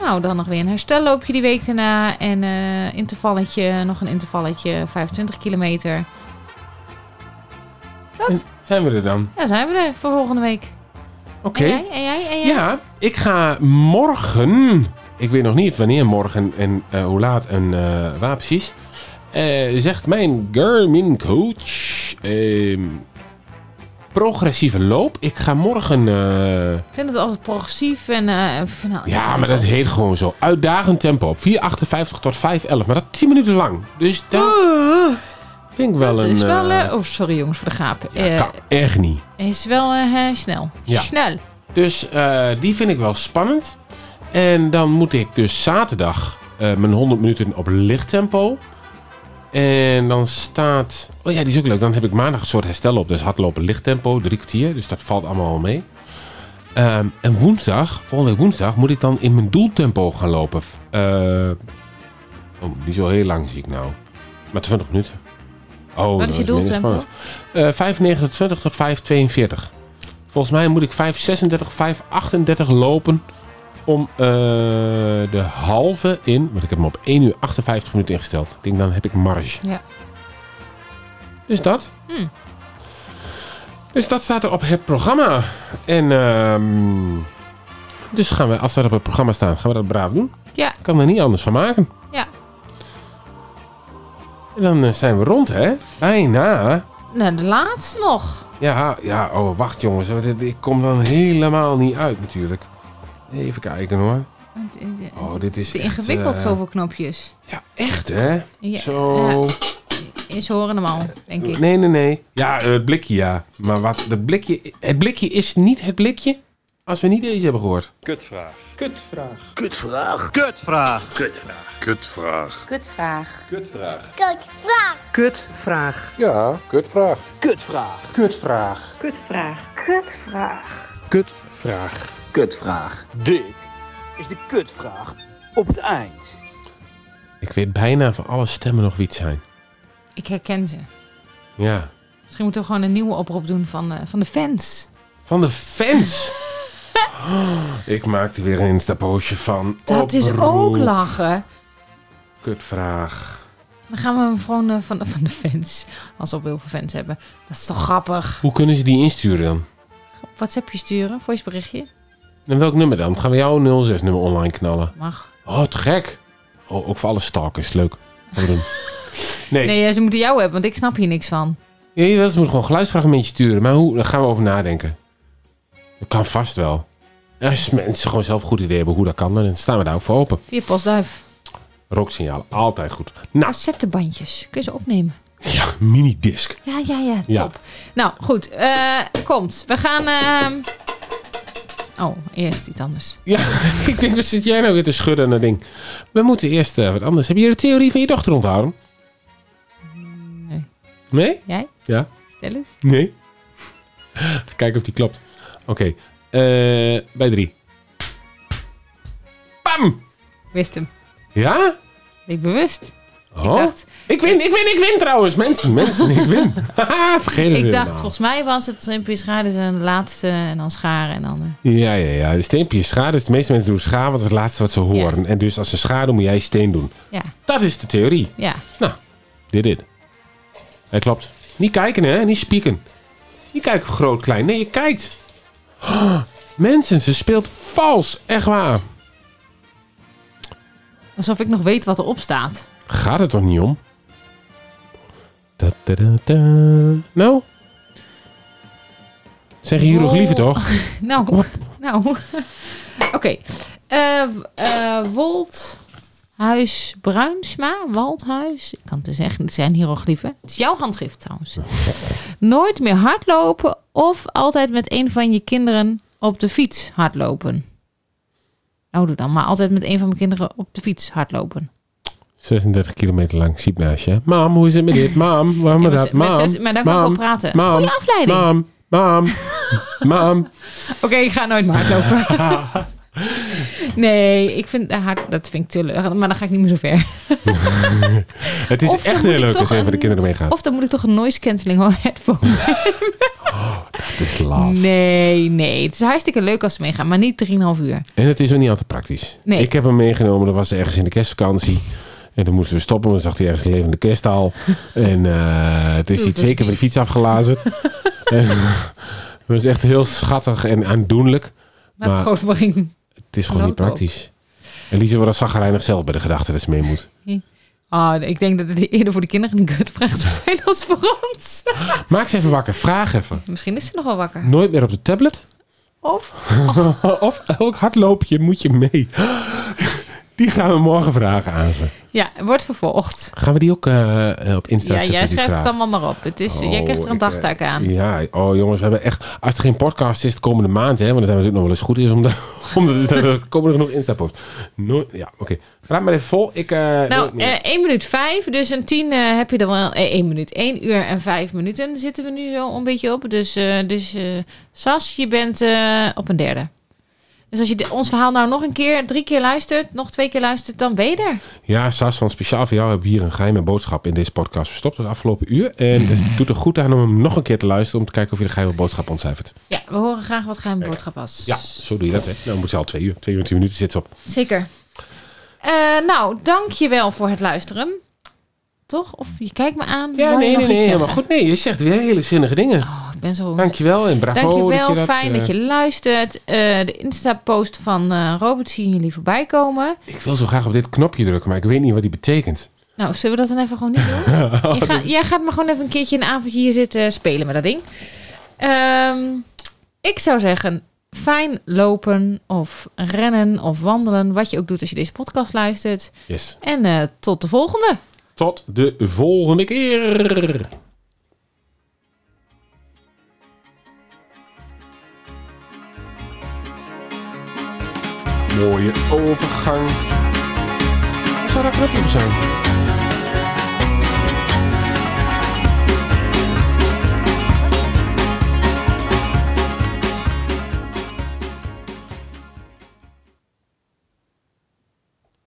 Speaker 6: Nou, dan nog weer een herstelloopje die week daarna. En eh intervalletje, nog een intervalletje, 25 kilometer.
Speaker 3: en zijn we er dan?
Speaker 6: Ja, zijn we er voor volgende week.
Speaker 3: Oké.
Speaker 6: En jij? En jij? En jij?
Speaker 3: Ja, ik ga morgen. Ik weet nog niet wanneer morgen en eh, hoe laat en eh waar precies. Eh, zegt mijn Garmin coach. ehm, progressieve loop. Ik ga morgen. eh,
Speaker 6: Ik vind het altijd progressief en... eh, ik vind het-
Speaker 3: ja, maar dat heet gewoon zo. Uitdagend tempo. Op 4,58 tot 5,11. Maar dat 10 minuten lang. Dus dat vind ik wel
Speaker 6: Oh, Dat
Speaker 3: een.
Speaker 6: is wel...
Speaker 3: eh,
Speaker 6: eh, oh, sorry jongens voor de gapen.
Speaker 3: ja,
Speaker 6: Eh,
Speaker 3: kan echt niet.
Speaker 6: is wel eh, eh, snel.
Speaker 3: Ja.
Speaker 6: Snel.
Speaker 3: Dus eh, die vind ik wel spannend. En dan moet ik dus zaterdag eh, mijn 100 minuten op licht tempo. En dan staat... Oh ja, die is ook leuk. Dan heb ik maandag een soort herstel op. Dus hardlopen licht tempo, drie kwartier. Dus dat valt allemaal al mee. Ehm, en woensdag, volgende week woensdag, moet ik dan in mijn doeltempo gaan lopen. Eh oh, niet zo heel lang zie ik nou. Maar 20 minuten. Oh,
Speaker 6: Wat
Speaker 3: dat
Speaker 6: is je
Speaker 3: minder
Speaker 6: doeltempo?
Speaker 3: spannend. Eh, 5,29 tot 5,42. Volgens mij moet ik 5,36, 5,38 lopen om eh, de halve in. Want ik heb hem op 1 uur 58 minuten ingesteld. Ik denk, dan heb ik marge.
Speaker 6: Ja.
Speaker 3: Dus dat.
Speaker 6: Hmm.
Speaker 3: Dus dat staat er op het programma. En ehm, dus gaan we, als dat op het programma staat, gaan we dat braaf doen.
Speaker 6: Ja.
Speaker 3: Ik kan er niet anders van maken.
Speaker 6: Ja.
Speaker 3: En dan eh, zijn we rond, hè? Bijna.
Speaker 6: Nou, de laatste nog.
Speaker 3: Ja, ja, oh, wacht jongens. want dit- Ik kom dan helemaal niet uit natuurlijk. Even kijken hoor. Oh, dit is
Speaker 6: eh, te
Speaker 3: echt,
Speaker 6: ingewikkeld,
Speaker 3: eh,
Speaker 6: zoveel knopjes.
Speaker 3: Ja, echt hè?
Speaker 6: Ja,
Speaker 3: Zo.
Speaker 6: ja, ze horen hem al, denk ik.
Speaker 3: Nee, nee, nee. Ja, eh, het blikje ja. Maar wat, de blikje, het blikje is niet het blikje als we niet deze hebben gehoord.
Speaker 5: Kutvraag.
Speaker 4: Kijk, vraag.
Speaker 2: Dit is de kutvraag op het eind.
Speaker 3: Ik weet bijna van alle stemmen nog wie het zijn.
Speaker 6: Ik herken ze.
Speaker 3: Ja.
Speaker 6: Misschien moeten we gewoon een nieuwe oproep doen van, eh, van de fans.
Speaker 3: Van de fans. Ik maakte weer een instapostje van.
Speaker 6: Dat is
Speaker 3: Oproep.
Speaker 6: ook lachen.
Speaker 3: Kutvraag.
Speaker 6: Dan gaan we hem gewoon eh, van, van de fans. Als we heel veel fans hebben. Dat is toch grappig.
Speaker 3: Hoe kunnen ze die insturen dan?
Speaker 6: WhatsAppje sturen, voiceberichtje.
Speaker 3: En welk nummer dan? Gaan we jouw 06-nummer online knallen?
Speaker 6: Mag.
Speaker 3: Oh, te gek. Oh, ook voor alle stalkers. Leuk. Gaan we doen. Nee,
Speaker 6: Nee, eh, ze moeten jou hebben, want ik snap hier niks van.
Speaker 3: nee. ze moeten gewoon geluidsfragmentjes sturen. Maar hoe? Daar gaan we over nadenken. Dat kan vast wel. En Als mensen gewoon zelf een goed idee hebben hoe dat kan, dan staan we daar ook voor open.
Speaker 6: Hier, postduif.
Speaker 3: Rooksignalen, altijd goed. Nou,
Speaker 6: Cassettebandjes. Kun je ze opnemen?
Speaker 3: ja, minidisc.
Speaker 6: Ja, ja, ja.
Speaker 3: Ja.
Speaker 6: Top. Nou, goed. eh, komt. We gaan... ehm, Oh, eerst iets anders.
Speaker 3: Ja, ik denk, wat zit jij nou weer te schudden aan dat ding? We moeten eerst eh, wat anders. Heb je de theorie van je dochter onthouden?
Speaker 6: Nee.
Speaker 3: Nee?
Speaker 6: Jij?
Speaker 3: Ja.
Speaker 6: Vertel eens.
Speaker 3: Nee. Even kijken of die klopt. Oké. eh, bij drie. Bam!
Speaker 6: Ik Wist hem.
Speaker 3: Ja?
Speaker 6: Ik bewust.
Speaker 3: Oh.
Speaker 6: Ik dacht,
Speaker 3: ik win, ik win, ik win trouwens. Mensen, mensen, ik win. Haha, Vergeet het
Speaker 6: ik
Speaker 3: helemaal.
Speaker 6: dacht volgens mij was het Olympisch schaar zijn laatste en dan scharen en dan... eh,
Speaker 3: Ja, ja, ja. De steempje is schaar. Dus de meeste mensen doen schaar, want dat is het laatste wat ze horen. En dus als ze schaar doen, moet jij steen doen.
Speaker 6: ja,
Speaker 3: Dat is de theorie.
Speaker 6: ja.
Speaker 3: Nou, dit dit. Hij klopt. Niet kijken, hè? Niet spieken. Niet kijken groot, klein. Nee, je kijkt. Oh, mensen, ze speelt vals. Echt waar.
Speaker 6: Alsof ik nog weet wat erop staat.
Speaker 3: Gaat het toch niet om? Da, da, da, da. Nou? Zeg hieroglyphen
Speaker 6: Wol-
Speaker 3: toch?
Speaker 6: Nou,
Speaker 3: op.
Speaker 6: nou. Oké. Eh, eh, Woldhuis Bruinsma. Waldhuis. Ik kan het dus echt niet zijn hieroglyphen. Het is jouw handschrift trouwens. Nooit meer hardlopen of altijd met een van je kinderen op de fiets hardlopen. Nou, doe dan maar altijd met een van mijn kinderen op de fiets hardlopen.
Speaker 3: 36 kilometer lang ziek naast je. Mam, hoe is het met dit? Mam, waarom
Speaker 6: Ja,
Speaker 3: met
Speaker 6: maar
Speaker 3: dat?
Speaker 6: ze- met
Speaker 3: Mam,
Speaker 6: zes- maar dan kan ik
Speaker 3: mam,
Speaker 6: wel praten.
Speaker 3: mam,
Speaker 6: Goeie afleiding.
Speaker 3: Mam, mam, mam.
Speaker 6: Oké, ik ga nooit meer hardlopen. nee, ik vind eh, hard, dat vind ik te leuk. Maar dan ga ik niet meer zo ver.
Speaker 3: Het is
Speaker 6: Of dan
Speaker 3: echt
Speaker 6: moet
Speaker 3: heel
Speaker 6: ik
Speaker 3: leuk
Speaker 6: toch
Speaker 3: als een van de
Speaker 6: een-
Speaker 3: kinderen meegaat.
Speaker 6: Of dan moet ik toch een noise cancelling headphone
Speaker 3: Het is laaf.
Speaker 6: Nee, nee. Het is hartstikke leuk als ze meegaan, maar niet 3,5 uur.
Speaker 3: En het is ook niet altijd praktisch.
Speaker 6: Nee.
Speaker 3: Ik heb hem meegenomen, dat was ergens in de kerstvakantie. En toen moesten we stoppen, want dan zag hij ergens een levende kerstaal. En eh, het is
Speaker 6: Oeh,
Speaker 3: hij
Speaker 6: dat is
Speaker 3: twee keer van de fiets afgelazerd. En Het is echt heel schattig en aandoenlijk.
Speaker 6: Maar het
Speaker 3: Maar-
Speaker 6: is gewoon verring.
Speaker 3: Het is gewoon niet
Speaker 6: Geloof het
Speaker 3: praktisch. En Lise wordt als zagrijnig zelf bij de gedachte dat ze mee moet.
Speaker 6: Ah, ik denk dat het eerder voor de kinderen een kutvraag zou zijn als voor ons.
Speaker 3: Maak ze even wakker. Vraag even.
Speaker 6: Misschien is ze nog wel wakker.
Speaker 3: Nooit meer op de tablet?
Speaker 6: Of?
Speaker 3: of elk hardloopje moet je mee. Die gaan we morgen vragen aan ze.
Speaker 6: Ja, wordt vervolgd.
Speaker 3: Gaan we die ook eh, eh, op Insta
Speaker 6: Ja,
Speaker 3: zetten?
Speaker 6: jij
Speaker 3: die
Speaker 6: schrijft het
Speaker 3: vraag?
Speaker 6: allemaal maar op. Het is, jij
Speaker 3: Oh,
Speaker 6: krijgt er een
Speaker 3: ik, eh,
Speaker 6: dagtaak aan.
Speaker 3: Ja, oh jongens, we hebben echt... Als er geen podcast is de komende maand, hè, want dan zijn we natuurlijk nog wel eens goed is... Omdat, omdat dus, er komen er nog Insta-posts. Nooit, ja, oké. Praat maar even vol. Ik, eh, nooit
Speaker 6: Nou,
Speaker 3: meer.
Speaker 6: eh 1 minuut 5, dus een 10 eh, heb je er wel. eh, 1 minuut, 1 uur en 5 minuten zitten we nu zo een beetje op. Dus, eh, dus eh, Sas, je bent eh, op een derde. Dus als je de- ons verhaal nou nog een keer, drie keer luistert, nog twee keer luistert, dan ben je er.
Speaker 3: Ja, Sas, van speciaal voor jou heb ik hier een geheime boodschap in deze podcast verstopt. Dat is afgelopen uur. En dus het doet er goed aan om hem nog een keer te luisteren. Om te kijken of je de geheime boodschap ontcijfert.
Speaker 6: Ja, we horen graag wat geheime boodschap was.
Speaker 3: Ja, zo doe je dat. Hè. Nou, dan moet ze al twee uur. Twee uur en tien minuten zit ze op.
Speaker 6: Zeker. Eh nou, dankjewel voor het luisteren. Toch? Of je kijkt me aan.
Speaker 3: Ja,
Speaker 6: wil
Speaker 3: nee,
Speaker 6: je nog
Speaker 3: nee,
Speaker 6: iets
Speaker 3: nee.
Speaker 6: zeggen?
Speaker 3: Helemaal goed. Nee, je zegt weer hele zinnige dingen.
Speaker 6: Oh, ik ben zo...
Speaker 3: Dankjewel en bravo.
Speaker 6: Dankjewel,
Speaker 3: dat je dat,
Speaker 6: fijn dat
Speaker 3: eh,
Speaker 6: je luistert. Eh, de Insta-post van eh, Robert zien jullie voorbij komen.
Speaker 3: Ik wil zo graag op dit knopje drukken, maar ik weet niet wat die betekent.
Speaker 6: Nou, zullen we dat dan even gewoon niet doen? Je
Speaker 3: Oh,
Speaker 6: gaat- jij gaat maar gewoon even een keertje een avondje hier zitten spelen met dat ding. Ehm, ik zou zeggen, fijn lopen of rennen of wandelen. Wat je ook doet als je deze podcast luistert.
Speaker 3: Yes.
Speaker 6: En eh, tot de volgende.
Speaker 3: Tot de volgende keer. Mooie overgang. Wat zou dat knopje voor zijn?